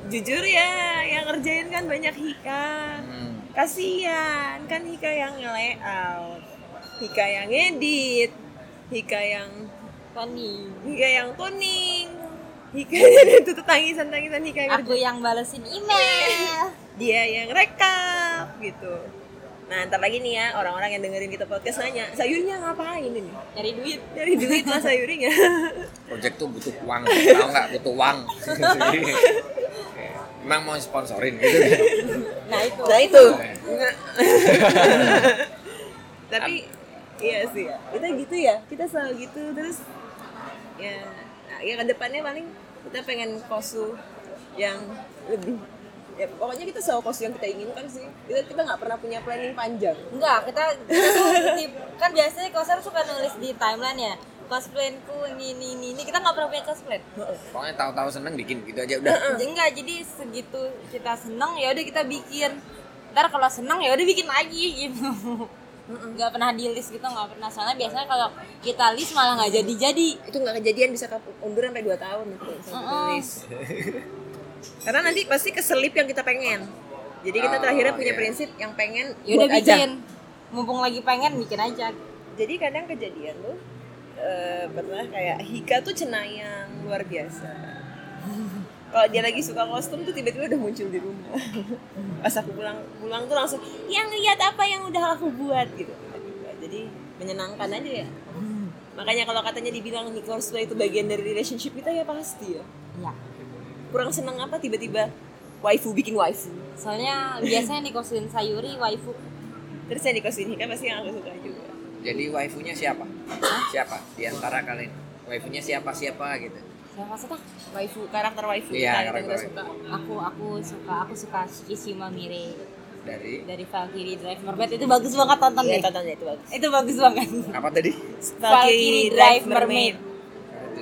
B: jujur ya yang ngerjain kan banyak Hika
A: Hmm.
B: kasihan kan Hika yang nge-layout Hika yang edit Hika yang
C: Fani
B: Hika yang tuning Hika itu tuh tangisan-tangisan Hika yang
C: aku
B: ngerjain.
C: yang balesin email
B: dia yang rekap gitu nah ntar lagi nih ya orang-orang yang dengerin kita podcast nanya sayurnya ngapain ini
C: dari duit
B: dari duit lah sayurnya
A: Project tuh butuh uang, tahu nggak butuh uang. Oke. Emang mau sponsorin gitu.
C: nah itu
B: nah itu tapi iya sih kita gitu ya kita selalu gitu terus ya ya kedepannya paling kita pengen kosu yang lebih ya pokoknya kita selalu kos yang kita inginkan sih kita kita nggak pernah punya planning panjang
C: Enggak, kita kita tuh di- kan biasanya koser suka nulis di timeline ya. Cosplaynku ini ini ini, ini. kita nggak pernah punya cosplay.
A: Pokoknya tahu-tahu seneng bikin gitu aja udah.
C: Jadi Enggak, jadi segitu kita seneng ya udah kita bikin. Ntar kalau seneng ya udah bikin lagi gitu. Enggak pernah di list gitu, nggak pernah soalnya biasanya kalau kita list malah nggak jadi-jadi.
B: itu nggak kejadian bisa kap- undur sampai 2 tahun gitu bisa ditulis. karena nanti pasti keselip yang kita pengen jadi kita
A: Ah,
B: terakhirnya punya
A: iya.
B: prinsip yang pengen
C: Ya udah
B: buat aja.
C: bikin. Mumpung lagi pengen bikin aja.
B: jadi kadang kejadian tuh eh, pernah kayak Hika tuh cenayang luar biasa kalau dia lagi suka kostum tuh tiba-tiba udah muncul di rumah pas aku pulang pulang tuh langsung yang lihat apa yang udah aku buat gitu jadi menyenangkan aja ya makanya kalau katanya dibilang di cosplay itu bagian dari relationship kita ya pasti ya
C: Iya.
B: kurang seneng apa tiba-tiba waifu bikin waifu
C: Soalnya biasanya di kosin sayuri waifu
B: terus yang dikosini kan pasti yang aku suka juga
A: Jadi waifunya siapa? Siapa di antara kalian? Waifunya siapa siapa gitu.
C: siapa sih Tah?
B: waifu karakter
A: Iya,
B: waifu kita gitu, yang kita
A: karakter
B: suka
C: aku aku suka aku suka Shikishima Mire
A: Dari
C: dari Valkyrie Drive Mermaid itu bagus banget tonton
B: Iya,
C: deh
B: tontonnya itu bagus
C: itu bagus banget
A: apa tadi?
C: Valkyrie Drive Mermaid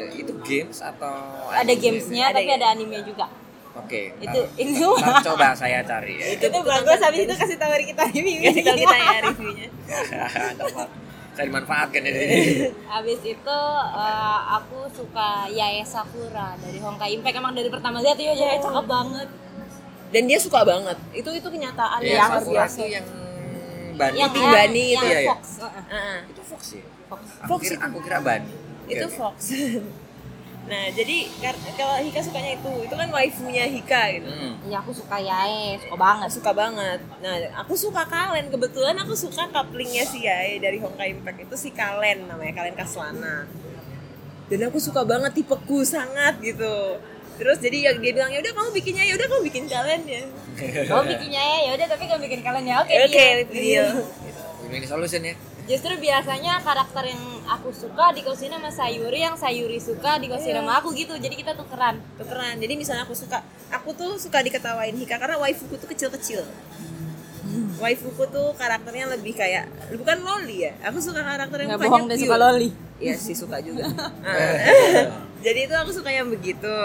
A: Itu games atau
C: ada gamesnya
B: Ada
C: tapi
B: ya?
C: ada anime juga
A: Oke. ntar-
C: Itu- itu.
A: ntar coba saya cari ya.
B: Itu
C: itu
B: tonton
C: bagus habis itu
B: games.
C: kasih tahu kita review
B: Kasih tahu kita ya reviewnya.
A: Dapat. Saya dimanfaatkan
B: Iya,
A: ini.
C: habis itu eh, aku suka Yae Sakura dari Honkai Impact emang dari pertama lihat ya Yae cakep banget
B: Dan dia suka banget. Itu itu kenyataan
A: Iya,
B: yang luar
A: Sakura
B: biasa.
A: tuh yang Bani.
C: yang
A: Itu
B: Yang Bani
C: yang
B: itu ya,
A: ya?
C: Fox eh, heeh.
B: Heeh.
A: Itu Fox Iya. ya?
C: Fox.
A: Aku
B: Fox
A: kira,
B: itu.
A: aku kira Bani. Oke,
B: itu
A: oke.
B: Fox. nah, jadi kar- kalau Hika sukanya itu, itu kan waifunya Hika gitu.
A: Hmm.
C: Iya aku suka Yae suka banget
B: Suka banget. Nah, aku suka Kalen. Kebetulan aku suka couplingnya si Yae dari Honkai Impact itu si Kalen namanya, Kalen Kaslana. Dan aku suka banget tipeku sangat gitu. Terus jadi ya dia bilang ya udah kamu bikinnya ya udah kamu bikin Kalen ya.
C: kamu bikin Yae ya udah tapi kamu bikin kalian ya oke
B: Oke,
C: deal.
B: deal.
A: Ini solution ya.
C: Justru biasanya karakter yang aku suka dikosin sama Sayuri, yang Sayuri suka dikosin
B: Iya.
C: sama aku gitu. Jadi kita tukeran.
B: tukeran jadi misalnya aku suka aku tuh suka diketawain Hika karena waifuku tuh kecil-kecil waifuku tuh karakternya lebih kayak bukan loli ya aku suka karakter yang
C: Nggak
B: mukanya
C: bohong dan
B: cute.
C: suka loli.
B: Iya sih suka juga Ah.
C: Iya.
B: jadi itu aku suka yang begitu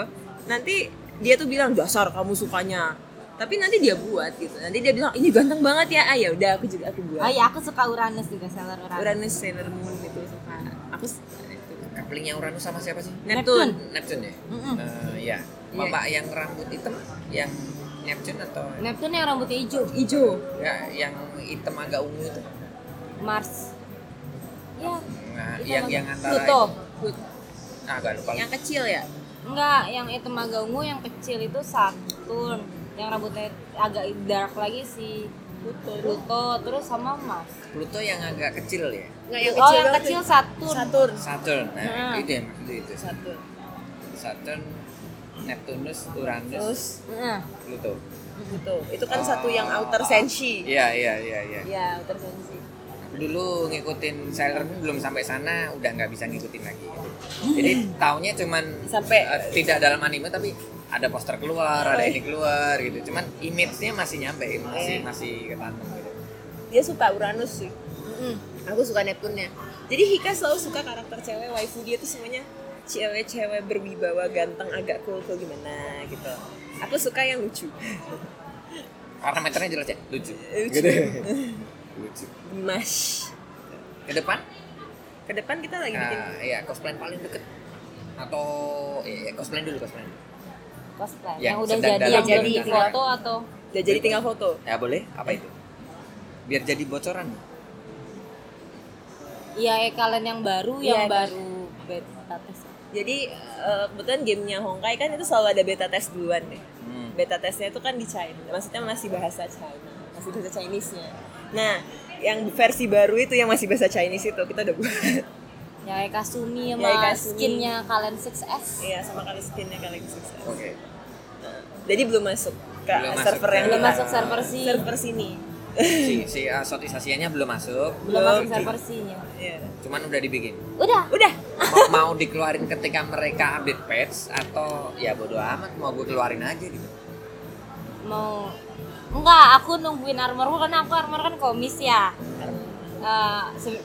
B: nanti dia tuh bilang dasar kamu sukanya tapi nanti dia buat gitu nanti dia bilang ini ganteng banget ya ah ya udah aku juga aku
C: Oh
B: buat
C: iya, Nah. aku suka Uranus juga, Sailor Uranus.
B: Uranus Sailor Moon gitu suka aku suka itu
A: Couplingnya Uranus sama siapa sih?
B: Neptune
A: Neptune ya?
C: Mm-mm.
A: Eh, iya. Bapak yang rambut hitam yang Neptune atau
C: Neptune yang rambutnya hijau, hijau.
A: ya, yang hitam agak ungu itu?
C: Mars. Ya.
A: Nah,
C: itu
A: yang
C: apa?
A: yang antara
C: Pluto.
A: Nah, agak lupa.
B: yang kecil ya
C: Enggak, yang itu maga ungu yang kecil itu Saturn. Yang rambutnya agak dark lagi si Pluto, terus sama Mars.
A: Pluto yang agak kecil ya.
B: nggak yang
C: oh,
B: kecil
C: yang
B: banget
C: kecil
B: tuh.
C: Saturn.
B: Saturn
A: Saturn. Nah,
C: Nah.
A: itu yang maksud itu.
B: Saturn
A: Saturn, Neptunus,
B: terus
A: Uranus,
C: Heeh.
A: Pluto.
B: gitu itu kan
A: Oh.
B: satu yang outer senshi
A: Iya, iya, iya, iya.
B: ya outer senshi
A: dulu ngikutin Sailor Moon belum sampai sana udah nggak bisa ngikutin lagi gitu. jadi taunya cuman
B: Hmm. Sampai- Oh,
A: eh, tidak dalam anime tapi ada poster keluar ada ini keluar gitu cuman image-nya masih nyampe masih
B: Iya.
A: masih ketanam gitu
B: dia suka Uranus sih
C: Heeh.
B: aku suka Neptune jadi Hika selalu suka karakter cewek waifu dia tuh semuanya cewek-cewek berwibawa ganteng agak cool cool gimana gitu aku suka yang lucu
A: parameternya jelas ya lucu
B: Lucu.
A: Gitu. lucu
B: Dimash
A: ke depan
B: ke depan kita lagi bikin
A: nah, ya cosplay paling deket atau ya, ya, cosplay dulu cosplay dulu.
C: Cosplay.
A: Yang
C: Yang,
A: Ya,
C: udah
A: sedang
C: jadi,
A: dalam
C: yang belum di
A: perencanaan.
C: foto atau
B: udah jadi tinggal foto
A: ya boleh apa itu biar jadi bocoran
C: Iya, eh, kalian yang baru,
B: Iya,
C: yang
B: kan.
C: baru beta test.
B: jadi eh, kebetulan gamenya Honkai kan itu selalu ada beta test duluan deh
A: Hmm.
B: beta testnya itu kan di China maksudnya masih bahasa China masih bahasa Chinese-nya nah yang versi baru itu yang masih bahasa Chinese itu kita udah buat
C: Yang kayak Kasumi Ya, sama
B: Yang Kasumi.
C: skinnya kalian 6S.
B: iya sama kali skinnya kali sukses
A: oke
B: jadi belum masuk ke
A: Belum masuk ya.
B: server
A: ke-
B: yang
C: Belum
B: kita-
C: masuk server sih.
B: server sini
A: si si asotisasinya belum masuk
C: Belum
B: Belum.
C: masuk server C-nya.
B: Iya.
A: cuman udah dibikin
C: Udah.
B: udah
A: mau, mau dikeluarin ketika mereka update patch atau ya bodo amat mau gue keluarin aja gitu
C: mau enggak aku nungguin armorku karena aku armor kan komis ya Eh, se-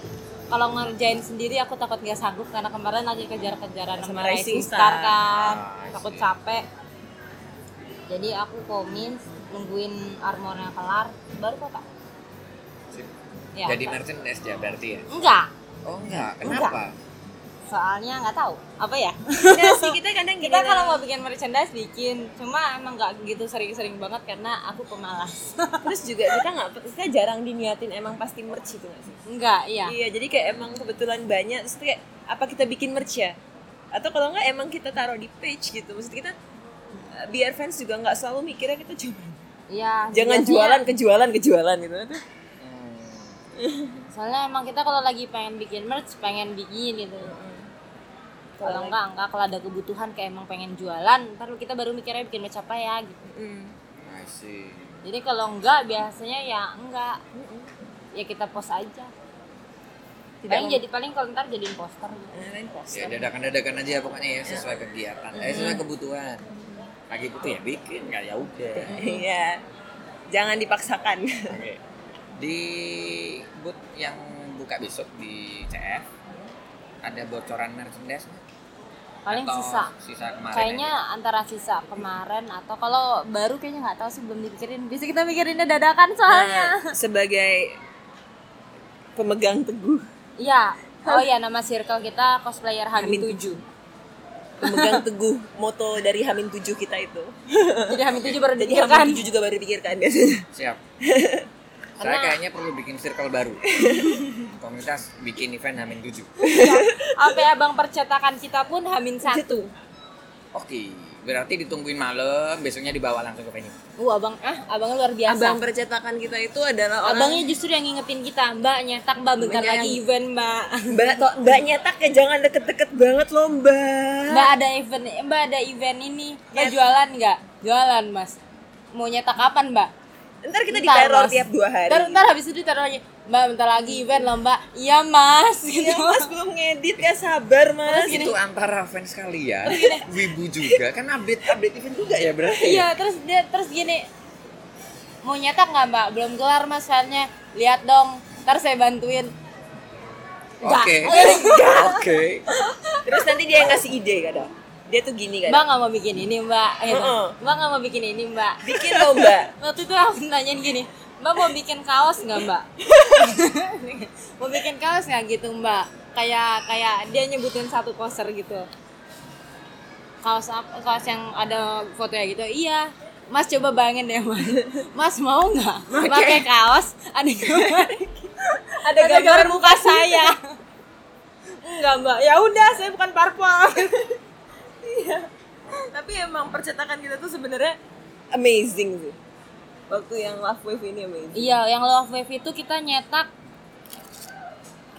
C: kalau ngerjain sendiri aku takut gak sanggup karena kemarin lagi kejar-kejaran sama Rising Star kan
A: Ah, I
C: takut
A: see.
C: capek jadi aku komis nungguin armornya kelar baru kakak
A: Sip.
C: ya
A: Jadi merchandise ya berarti ya?
C: enggak
A: Oh enggak,
C: Enggak.
A: kenapa?
C: soalnya nggak tahu apa ya
B: Nggak sih kita kadang gini
C: kita kalau
B: nah.
C: mau bikin merchandise bikin cuma emang nggak gitu sering-sering banget karena aku pemalas
B: terus juga kita nggak kita jarang diniatin emang pasti merch itu nggak sih
C: enggak iya
B: iya jadi kayak emang kebetulan banyak terus tuh kayak apa kita bikin merch ya atau kalau nggak emang kita taruh di page gitu maksud kita eh, biar fans juga nggak selalu mikirnya kita cuma
C: iya
B: jangan
C: biasanya-
B: jualan kejualan kejualan gitu
A: Hmm.
C: soalnya emang kita kalau lagi pengen bikin merch pengen bikin gitu kalau enggak enggak kalau ada kebutuhan kayak emang pengen jualan ntar kita baru mikirnya bikin merch apa ya gitu
B: Mm.
A: I see.
C: jadi kalau enggak biasanya ya enggak ya kita post aja
B: Tidak
C: paling
B: mem-
C: jadi paling kalau ntar jadi imposter gitu.
B: Nah, lain poster.
A: Ya dadakan-dadakan aja pokoknya ya sesuai kegiatan, eh sesuai
C: Mm-hmm.
A: kebutuhan. Lagi butuh ya bikin, nggak ya udah.
B: Iya. Jangan dipaksakan.
A: Oke. Di booth yang buka besok di CF ada bocoran merchandise nggak?
C: paling
A: Atau
C: sisa
A: sisa kemarin
C: kayaknya antara sisa kemarin atau kalau baru kayaknya nggak tahu sih belum dipikirin bisa kita mikirinnya dadakan soalnya
B: Nah, sebagai pemegang teguh,
C: iya oh ya nama circle kita cosplayer
B: Hamin
C: Hamin
B: 7. Pemegang teguh moto dari Hamin 7 kita itu.
C: jadi Hamin 7 baru
B: Jadi
C: dipikirkan
B: Hamin 7 juga baru dipikirkan biasanya.
A: siap saya
C: Karena-
A: kayaknya perlu bikin circle baru komunitas bikin event hamin 7
C: sampai ya, abang percetakan kita pun Hamin 1
B: Satu.
A: oke berarti ditungguin malam besoknya dibawa langsung ke venue
C: uh abang ah abang luar biasa
B: Abang percetakan kita itu adalah orang
C: abangnya justru yang ngingetin kita mbak nyetak mbak bentar
B: Mbaknya
C: lagi
B: yang-
C: event mbak
B: Mbak, to- mbak nyetak ya jangan deket-deket banget loh mbak
C: mbak ada event mbak ada event ini mbak jualan nggak jualan mas mau nyetak kapan mbak
B: Ntar kita
C: Ntar,
B: diteror
C: Mas.
B: tiap dua hari
C: Ntar, ntar habis itu ditaruh lagi. Mbak, bentar lagi event loh, Mbak. Iya, Mas. Gitu.
B: Ya mas belum ngedit ya sabar mas
A: itu antara fans kalian wibu juga kan update update event juga ya berarti
C: Iya, terus dia terus gini. Mau nyetak nggak, Mbak? Belum kelar, Mas, soalnya. Lihat dong. Ntar saya bantuin.
A: oke oke
B: Terus nanti dia yang ngasih ide kadang Dia tuh gini
C: Mbak
B: kadang
C: nggak mau bikin ini, Mbak. Gitu.
B: Heeh.
C: Mbak nggak mau bikin ini, Mbak.
B: Uh-uh. Bikin lomba
C: Waktu itu aku nanyain gini, Mbak mau bikin kaos nggak, Mbak? mau bikin kaos nggak gitu, Mbak? Kayak kayak dia nyebutin satu poster gitu. Kaos apa? Kaos yang ada fotonya gitu. Iya. Mas coba bayangin deh, Mas. Mas mau nggak pakai kaos ada gambar ada gambar muka saya?
B: Enggak mbak, ya udah saya bukan parpol. Iya. Tapi emang percetakan kita tuh sebenarnya amazing sih. Waktu yang Love Wave ini amazing.
C: Iya, yang love wave itu kita nyetak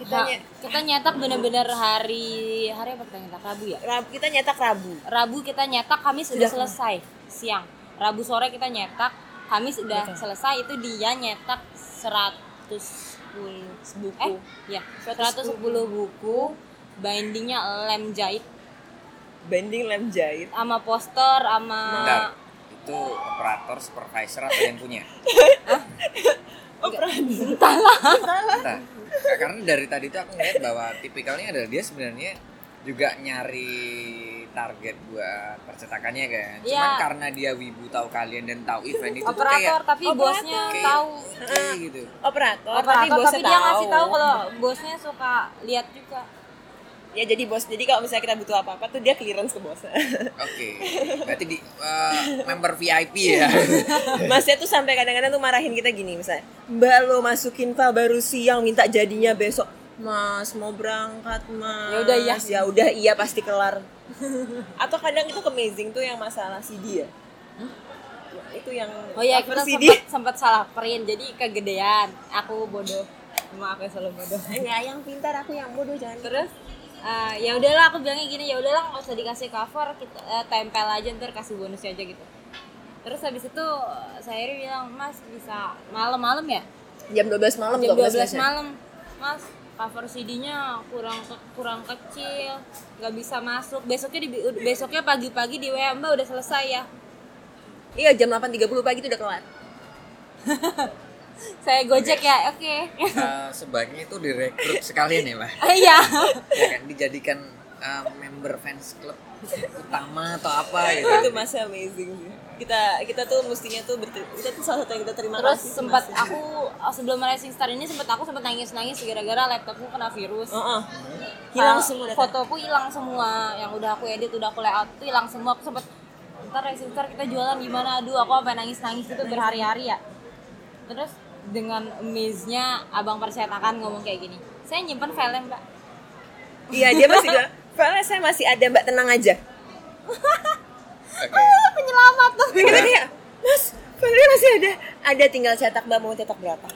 B: Kita,
C: kita,
B: nye-
C: kita nyetak bener-bener hari hari apa kita nyetak Rabu ya?
B: Rab- kita nyetak Rabu.
C: Rabu kita nyetak, Kamis sudah
B: Sudah.
C: selesai siang. Rabu sore kita nyetak, Kamis udah selesai itu dia nyetak 110
B: Buku.
C: Eh, ya, 110 buku, bindingnya lem jahit
B: Banding lem jahit.
C: sama poster sama
A: Bentar, itu operator supervisor atau yang punya
B: Oh, Pran.
A: Bentar. Nah, karena dari tadi tuh aku ngeliat bahwa tipikalnya adalah dia sebenarnya juga nyari target buat percetakannya kan. Cuman
C: Iya.
A: karena dia wibu tahu kalian dan tahu event itu tuh
C: operator
A: kayak
C: tapi Ah.
B: operator.
C: bosnya
A: kayak
C: tahu
A: kayak gitu.
B: Operator, tapi
C: operator
B: bosnya
C: tapi dia ngasih tahu kalau bosnya suka lihat juga.
B: ya jadi bos. Jadi kalau misalnya kita butuh apa-apa tuh dia clearance ke bosnya.
A: Oke. Berarti di eh, member VIP ya.
C: Iya.
B: Masnya tuh sampai kadang-kadang tuh marahin kita gini misalnya, Mbak lo masukin pak baru siang minta jadinya besok. Mas mau berangkat mas.
C: Ya udah, iya.
B: Ya udah iya pasti kelar. Atau kadang itu amazing tuh yang masalah CD ya. Itu yang
C: Oh ya
B: cover
C: kita
B: CD.
C: sempat, sempat salah print jadi kegedean. Aku bodoh. Maaf ya selalu bodoh.
B: Enggak yang pintar aku yang bodoh jangan.
C: terus eh, ya udahlah aku bilangnya gini ya udahlah nggak usah dikasih cover kita eh, tempel aja ntar kasih bonusnya aja gitu terus habis itu saya bilang mas bisa malam-malam ya
B: jam 12 malam
C: jam
B: tuh aku
C: 12
B: message-nya.
C: malam mas cover CD-nya kurang ke- kurang kecil nggak bisa masuk besoknya di besoknya pagi-pagi di WA mbak udah selesai ya
B: Iya jam 8.30 pagi itu udah kelar.
C: Saya gojek ya, oke.
A: Eh, sebaiknya itu direkrut sekalian ya mbak
C: Ah, Iya.
A: ya kan dijadikan eh, member fans club utama atau apa gitu
B: itu masih amazing sih. Kita kita tuh mestinya tuh berter- kita tuh salah satu yang kita terima
C: Terus
B: kasih.
C: sempat aku oh, sebelum Rising Star ini sempat aku sempat nangis-nangis gara-gara laptopku kena virus.
B: Heeh. Ah. Hilang
C: File-
B: semua data.
C: Fotoku hilang semua yang udah aku edit, udah aku layout itu hilang semua. Aku sempet ntar Rising Star kita jualan gimana? Aduh, aku sampai nangis-nangis gitu berhari-hari ya. Terus dengan amaze-nya abang percetakan ngomong kayak gini. Saya nyimpen file mbak.
B: Iya dia masih bilang. Soalnya saya masih ada mbak tenang aja.
A: Oke.
C: Penyelamat tuh.
B: Kita kayak Mas, filenya masih ada. Ada tinggal cetak mbak mau cetak berapa?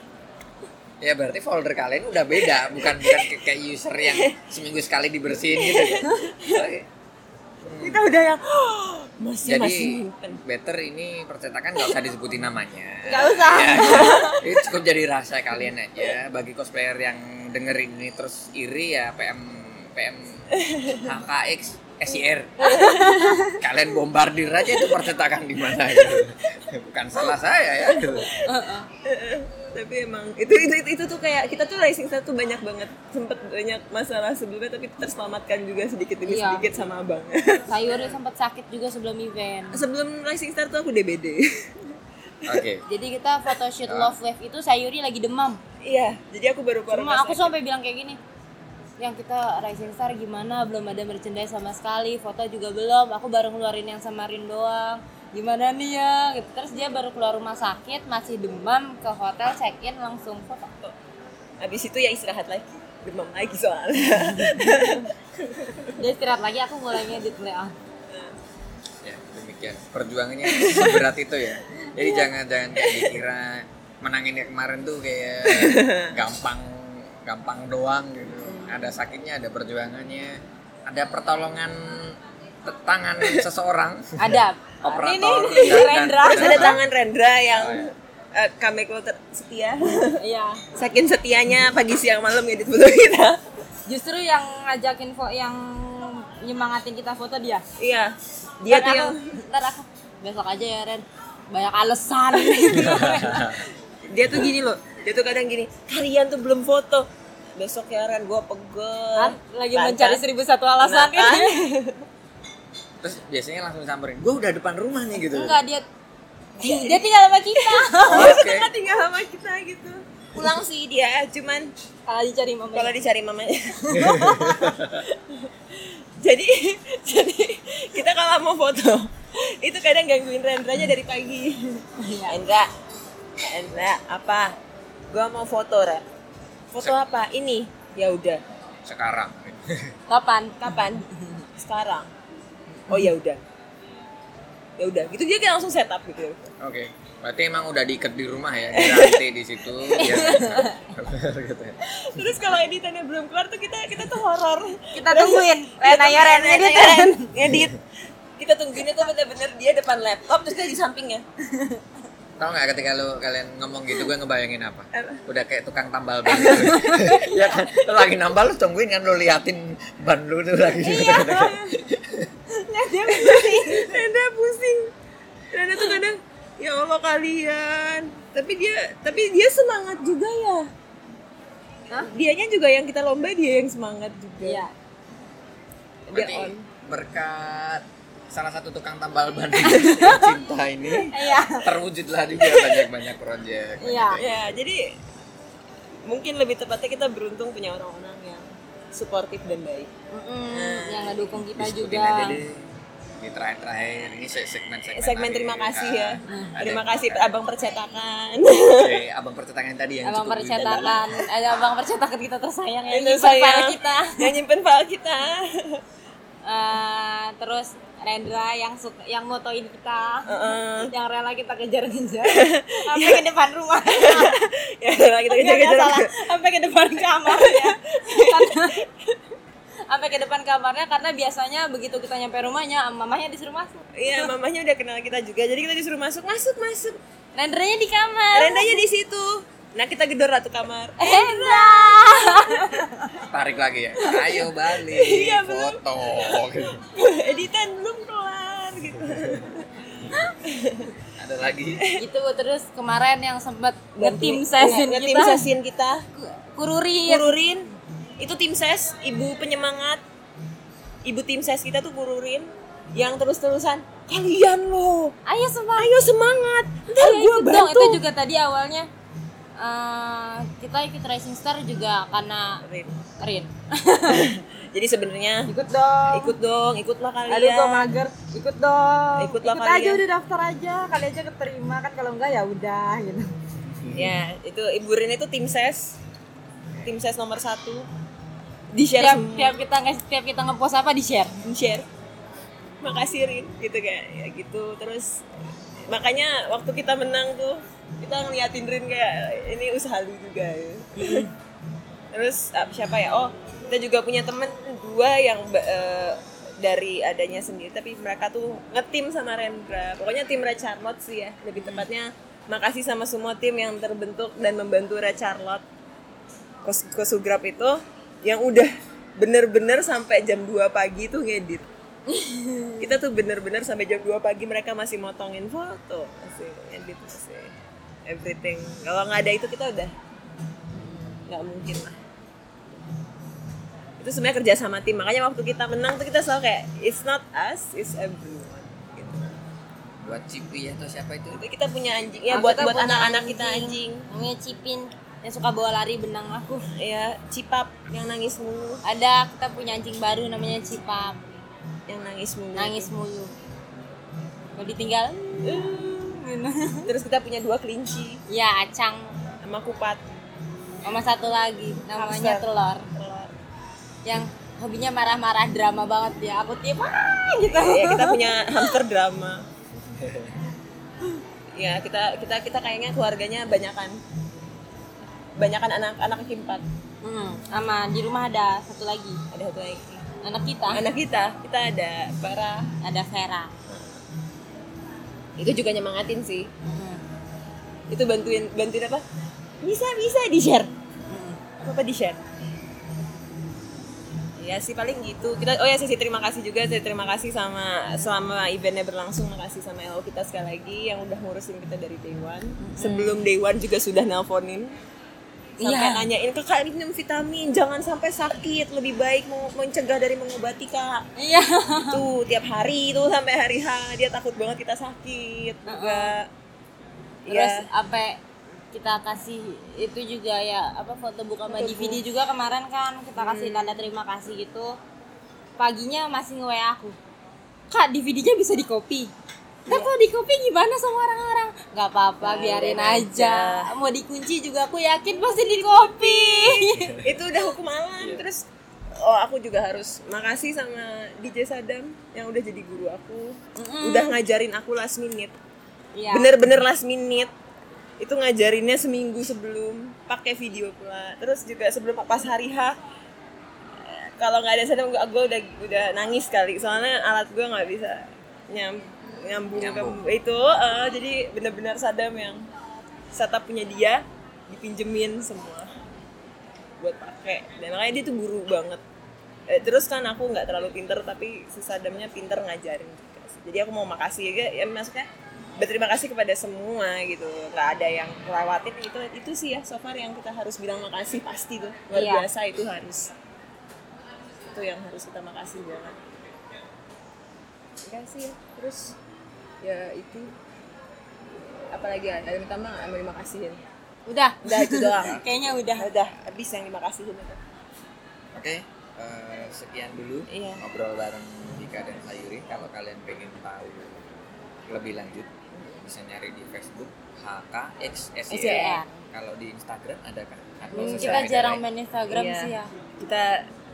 A: ya berarti folder kalian udah beda bukan bukan kayak- kayak user yang seminggu sekali dibersihin gitu ya Oke.
B: Kita udah yang masih
A: jadi
B: Iya, masih nyimpen.
A: better ini percetakan nggak usah disebutin namanya
C: Gak usah.
A: Ya, ini cukup jadi rahasia kalian aja bagi cosplayer yang dengerin ini terus iri ya PM PM HKX SIR kalian bombardir aja itu percetakan di mana gitu. bukan salah saya ya gitu.
B: tapi emang itu, itu itu itu tuh kayak kita tuh racing satu banyak banget sempet banyak masalah sebelumnya tapi terselamatkan juga sedikit demi
C: Iya.
B: sedikit sama abang
C: Sayuri sempat sakit juga sebelum event.
B: sebelum racing star tuh aku DBD
A: oke
C: Jadi kita photoshoot Love Wave itu Sayuri lagi demam.
B: iya jadi aku baru keluar
C: Cuma
B: rumah
C: aku
B: sakit.
C: sampai bilang kayak gini. Yang kita Rising Star gimana belum ada merchandise sama sekali, foto juga belum. Aku baru ngeluarin yang sama Rin doang. Gimana nih ya? Gitu. Terus dia baru keluar rumah sakit, masih demam ke hotel check in langsung foto.
B: abis itu ya istirahat lagi demam lagi soalnya
C: Dia istirahat lagi aku mulai ngedit mulai ah.
A: ya demikian perjuangannya seberat itu ya jadi jangan jangan kayak dikira menanginnya kemarin tuh kayak gampang gampang doang gitu ada sakitnya ada perjuangannya ada pertolongan te- tangan seseorang
C: Ada.
A: operator
C: Ini, ini, Rendra.
B: terus ada tangan Rendra yang
A: Oh, iya.
B: eh, kami keluar setia
C: Iya.
B: saking setianya pagi siang malam edit foto kita
C: Justru yang ngajakin foto yang nyemangatin kita foto dia.
B: iya dia
C: Ntar
B: tuh
C: aku,
B: yang
C: ntar aku besok aja ya Ren. Banyak alasan.
B: dia tuh gini loh dia tuh kadang gini kalian tuh belum foto besok ya Ren gue pegel
C: Kan lagi mencari seribu satu alasan
B: Nah, kan?
A: terus biasanya langsung samperin gue udah depan rumah nih gitu
C: Enggak dia dia tinggal sama kita.
A: Oh,
B: terus
A: oke
B: tinggal sama kita gitu pulang sih dia cuman
C: Kalau dicari mama.
B: kalau dicari mamanya jadi jadi kita kalau mau foto itu kadang gangguin Rendranya dari pagi
C: Iya.
B: Rendra Rendra apa gua mau foto Ren foto apa ini ya udah
A: sekarang
C: Kapan?
B: kapan sekarang oh ya udah ya udah gitu dia kayak langsung setup gitu
A: oke berarti emang udah diikat di rumah ya di rantai di situ ya gitu ya
B: terus kalau editannya belum keluar tuh kita kita tuh horor
C: Kita ya. Iya, tungguin. Ren
B: Kita
C: ayo Ren
B: tungguin, Eh, Ren,
C: edit
B: ayo,
C: Ren.
B: Ren. Ngedit. kita tungguinnya tuh bener-bener dia depan laptop terus dia di sampingnya
A: Tau nggak ketika lu kalian ngomong gitu gue ngebayangin apa?
B: Apa?
A: Udah kayak tukang tambal ban. ya kan? Lu lagi nambal lu tungguin kan lu liatin ban lu tuh lagi.
B: Iya.
A: Gitu.
B: nah dia pusing Nanda pusing Nanda tuh kadang ya Allah kalian tapi dia tapi dia semangat juga ya
C: Hah?
B: dianya juga yang kita lomba dia yang semangat juga
C: Iya.
B: dia
A: Berarti
B: on
A: berkat salah satu tukang tambal ban cinta ini
C: Iya.
A: terwujudlah juga banyak-banyak proyek.
C: Iya.
B: ya jadi mungkin lebih tepatnya kita beruntung punya orang-orang yang suportif dan baik
C: Mm-mm, Yang ngedukung kita
A: Disebutin aja
C: juga.
A: deh di terakhir-terakhir ini se- segmen-segmen
B: segmen
A: akhir,
B: terima kasih ya
A: kan? Ada
B: terima
A: yang-
B: kasih abang percetakan
A: Oke, abang percetakan tadi yang
C: Abang
A: cukup
C: percetakan, ada abang percetakan kita tersayang yang
B: Itu
C: nyimpen file
B: sayang.
C: kita.
B: yang nyimpen file kita
C: Eh, terus Rendra yang suka, yang motoin kita,
B: Heeh.
C: yang rela kita kejar-kejar sampai ke depan rumah.
B: ya
D: Iya,
B: lah, kita
C: Nggak,
B: kejar
C: Oh, nggak
B: kejar
C: salah. sampai ke depan kamar ya Karena- sampai ke depan kamarnya karena biasanya begitu kita nyampe rumahnya mamanya disuruh masuk
B: iya mamanya udah kenal kita juga jadi kita disuruh masuk masuk masuk
C: Rendranya di kamar
B: rendanya di situ nah kita gedor lah tuh kamar
C: Rendra
A: tarik lagi ya ayo balik
B: Iya, bener.
A: foto gitu.
B: editan belum kelar gitu
A: ada lagi
C: itu Gitu, terus kemarin yang sempat
B: Dan
C: ngetim
B: tim-
C: session
D: Iya,
B: nge-
C: kita Iya.
B: ngetim session kita
C: kururir
B: kururin itu tim ses ibu penyemangat ibu tim ses kita tuh kururin yang terus-terusan kalian loh
C: ayo semua
B: ayo semangat ntar
C: Ayo
B: gue
C: ikut dong.
B: bantu
C: itu juga tadi awalnya eh, kita ikut racing star juga karena
B: Kururin.
C: Rin
B: jadi sebenarnya
D: ikut dong
B: ikut dong ikutlah kalian
D: aduh gua mager ikut dong
B: Ikutlah
D: ikut
B: kalian.
D: aja udah daftar aja kali aja keterima kan kalau enggak ya udah gitu
B: ya itu ibu Rin itu tim ses tim ses nomor satu di share
C: tiap,
B: semua.
C: tiap kita nge- tiap kita ngepost apa di share
B: share makasih Rin gitu kayak ya gitu terus makanya waktu kita menang tuh kita ngeliatin Rin kayak ini usaha lu juga ya. terus ah, siapa ya oh kita juga punya temen dua yang ba- eh, dari adanya sendiri tapi mereka tuh ngetim sama Rendra pokoknya tim Red Charlotte sih ya lebih tepatnya makasih sama semua tim yang terbentuk dan membantu Red Charlotte Kos Kosugrap itu yang udah bener-bener sampai jam 2 pagi tuh ngedit. Kita tuh bener-bener sampai jam 2 pagi mereka masih motongin foto, masih ngedit, masih everything. Kalau nggak ada itu kita udah nggak mungkin lah. Itu sebenarnya kerja sama tim. Makanya waktu kita menang tuh kita selalu kayak it's not us, it's everyone. Gitu.
A: buat Cipi ya, atau siapa itu
B: Itu kita punya anjing ya
C: Nah,
B: buat
C: kita
B: buat
C: punya
B: anak-anak kita anjing.
C: namanya Cipin yang suka bawa lari benang aku
B: Ya, cipap yang nangis mulu,
C: ada kita punya anjing baru namanya Cipap
B: yang nangis mulu.
C: nangis mulu kalau ditinggal
B: Eh. Terus kita punya dua kelinci
C: ya acang
B: sama kupat
C: sama satu lagi namanya
D: Hamster.
C: telur
B: telur.
C: yang hobinya marah-marah drama banget ya aku tiap "Ah," gitu
B: Ya, kita punya hamster drama. Ya, kita kita kita kayaknya keluarganya banyakan. Banyakan anak-anak kaki empat.
C: hmm, sama di rumah ada satu lagi
B: Ada satu lagi.
C: anak kita
B: Anak kita, kita ada para
C: ada Vera
B: itu juga nyemangatin sih.
C: Hmm,
B: Itu bantuin bantuin apa? Bisa bisa di share.
C: hmm.
B: apa di share ya sih paling gitu kita oh ya sih terima kasih juga saya terima kasih sama selama eventnya berlangsung makasih sama LO kita sekali lagi yang udah ngurusin kita dari day one sebelum day one juga sudah nelponin sampai
C: Iya.
B: nanyain kakak minum vitamin jangan sampai sakit lebih baik mau mencegah dari mengobati kak
C: iya
B: tuh tiap hari itu sampai hari H dia takut banget kita sakit juga
C: terus
B: Iya.
C: apa kita kasih itu juga ya apa foto book sama DVD juga kemarin kan kita kasih tanda terima kasih gitu paginya masih nge WA aku kak DVD-nya bisa di copy Kak kalau di copy gimana sama orang-orang nggak apa-apa biarin aja. mau dikunci juga aku yakin pasti di copy
B: itu udah hukum alam terus oh aku juga harus makasih sama DJ Sadam yang udah jadi guru aku udah ngajarin aku last minute
C: Iya.
B: bener-bener last minute itu ngajarinnya seminggu sebelum pakai video pula terus juga sebelum pas hari H eh, kalau nggak ada Sadam gue udah udah nangis kali soalnya alat gue nggak bisa nyam, nyambung, ke-
A: Nyambung.
B: itu eh, jadi bener-bener Sadam yang Sata punya dia dipinjemin semua buat pakai dan makanya dia tuh guru banget Eh, terus kan aku nggak terlalu pinter tapi sesadamnya pinter ngajarin juga sih. jadi aku mau makasih ya, ya maksudnya berterima kasih kepada semua gitu nggak ada yang lewatin itu itu sih ya so far yang kita harus bilang makasih pasti tuh luar
C: Iya.
B: biasa itu harus itu yang harus kita makasih banget Enggak sih ya. terus ya itu apalagi ada yang pertama terima kasihin
C: udah
B: udah itu doang
C: kayaknya udah
B: udah habis yang terima kasihin itu
A: oke eh, sekian dulu
B: Iya.
A: ngobrol bareng Dika dan Sayuri kalau kalian pengen tahu lebih lanjut bisa nyari di Facebook HKXSYR
C: SYR.
A: E. kalau di Instagram ada kan Atau
C: E. Hmm,
A: sosial
C: kita
A: media
C: jarang
A: lain?
C: main Instagram
B: Iya.
C: sih ya
B: kita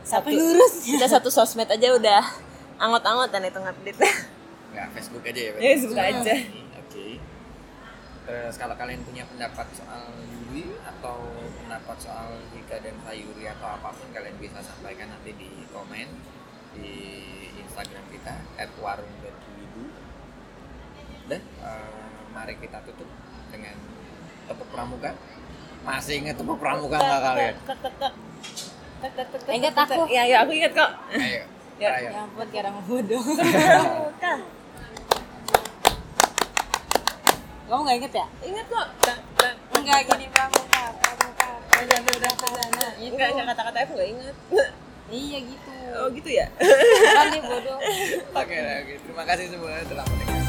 B: satu
C: Sampai lurus.
B: kita satu sosmed aja udah angot-angotan itu ngupdate
A: nggak Facebook aja ya
B: ya suka aja
A: Hmm, Oke. Terus kalau kalian punya pendapat soal Yuri atau pendapat soal Dika dan Sayuri atau apapun kalian bisa sampaikan nanti di komen di Instagram kita @warung.wibu. Dan eh, mari kita tutup dengan tepuk pramuka. Masih inget tepuk pramuka nggak kalian?
B: tek tek tek tek tek tek
C: Ingat
B: tek, tek.
C: aku.
B: ya ya aku ingat kok
A: Ayo.
B: Ya.
A: Ayo.
C: ya ampun kira bodoh
B: Kak.
C: Kamu nggak inget ya?
B: Ingat kok.
C: Enggak gini pramuka, pramuka, udah perdana itu.
B: Enggak, enggak kata-kata aku enggak ingat.
C: Iya gitu.
B: Oh gitu ya?
C: Kan dia bodoh.
A: Oke, oke. terima kasih semua telah mendengar.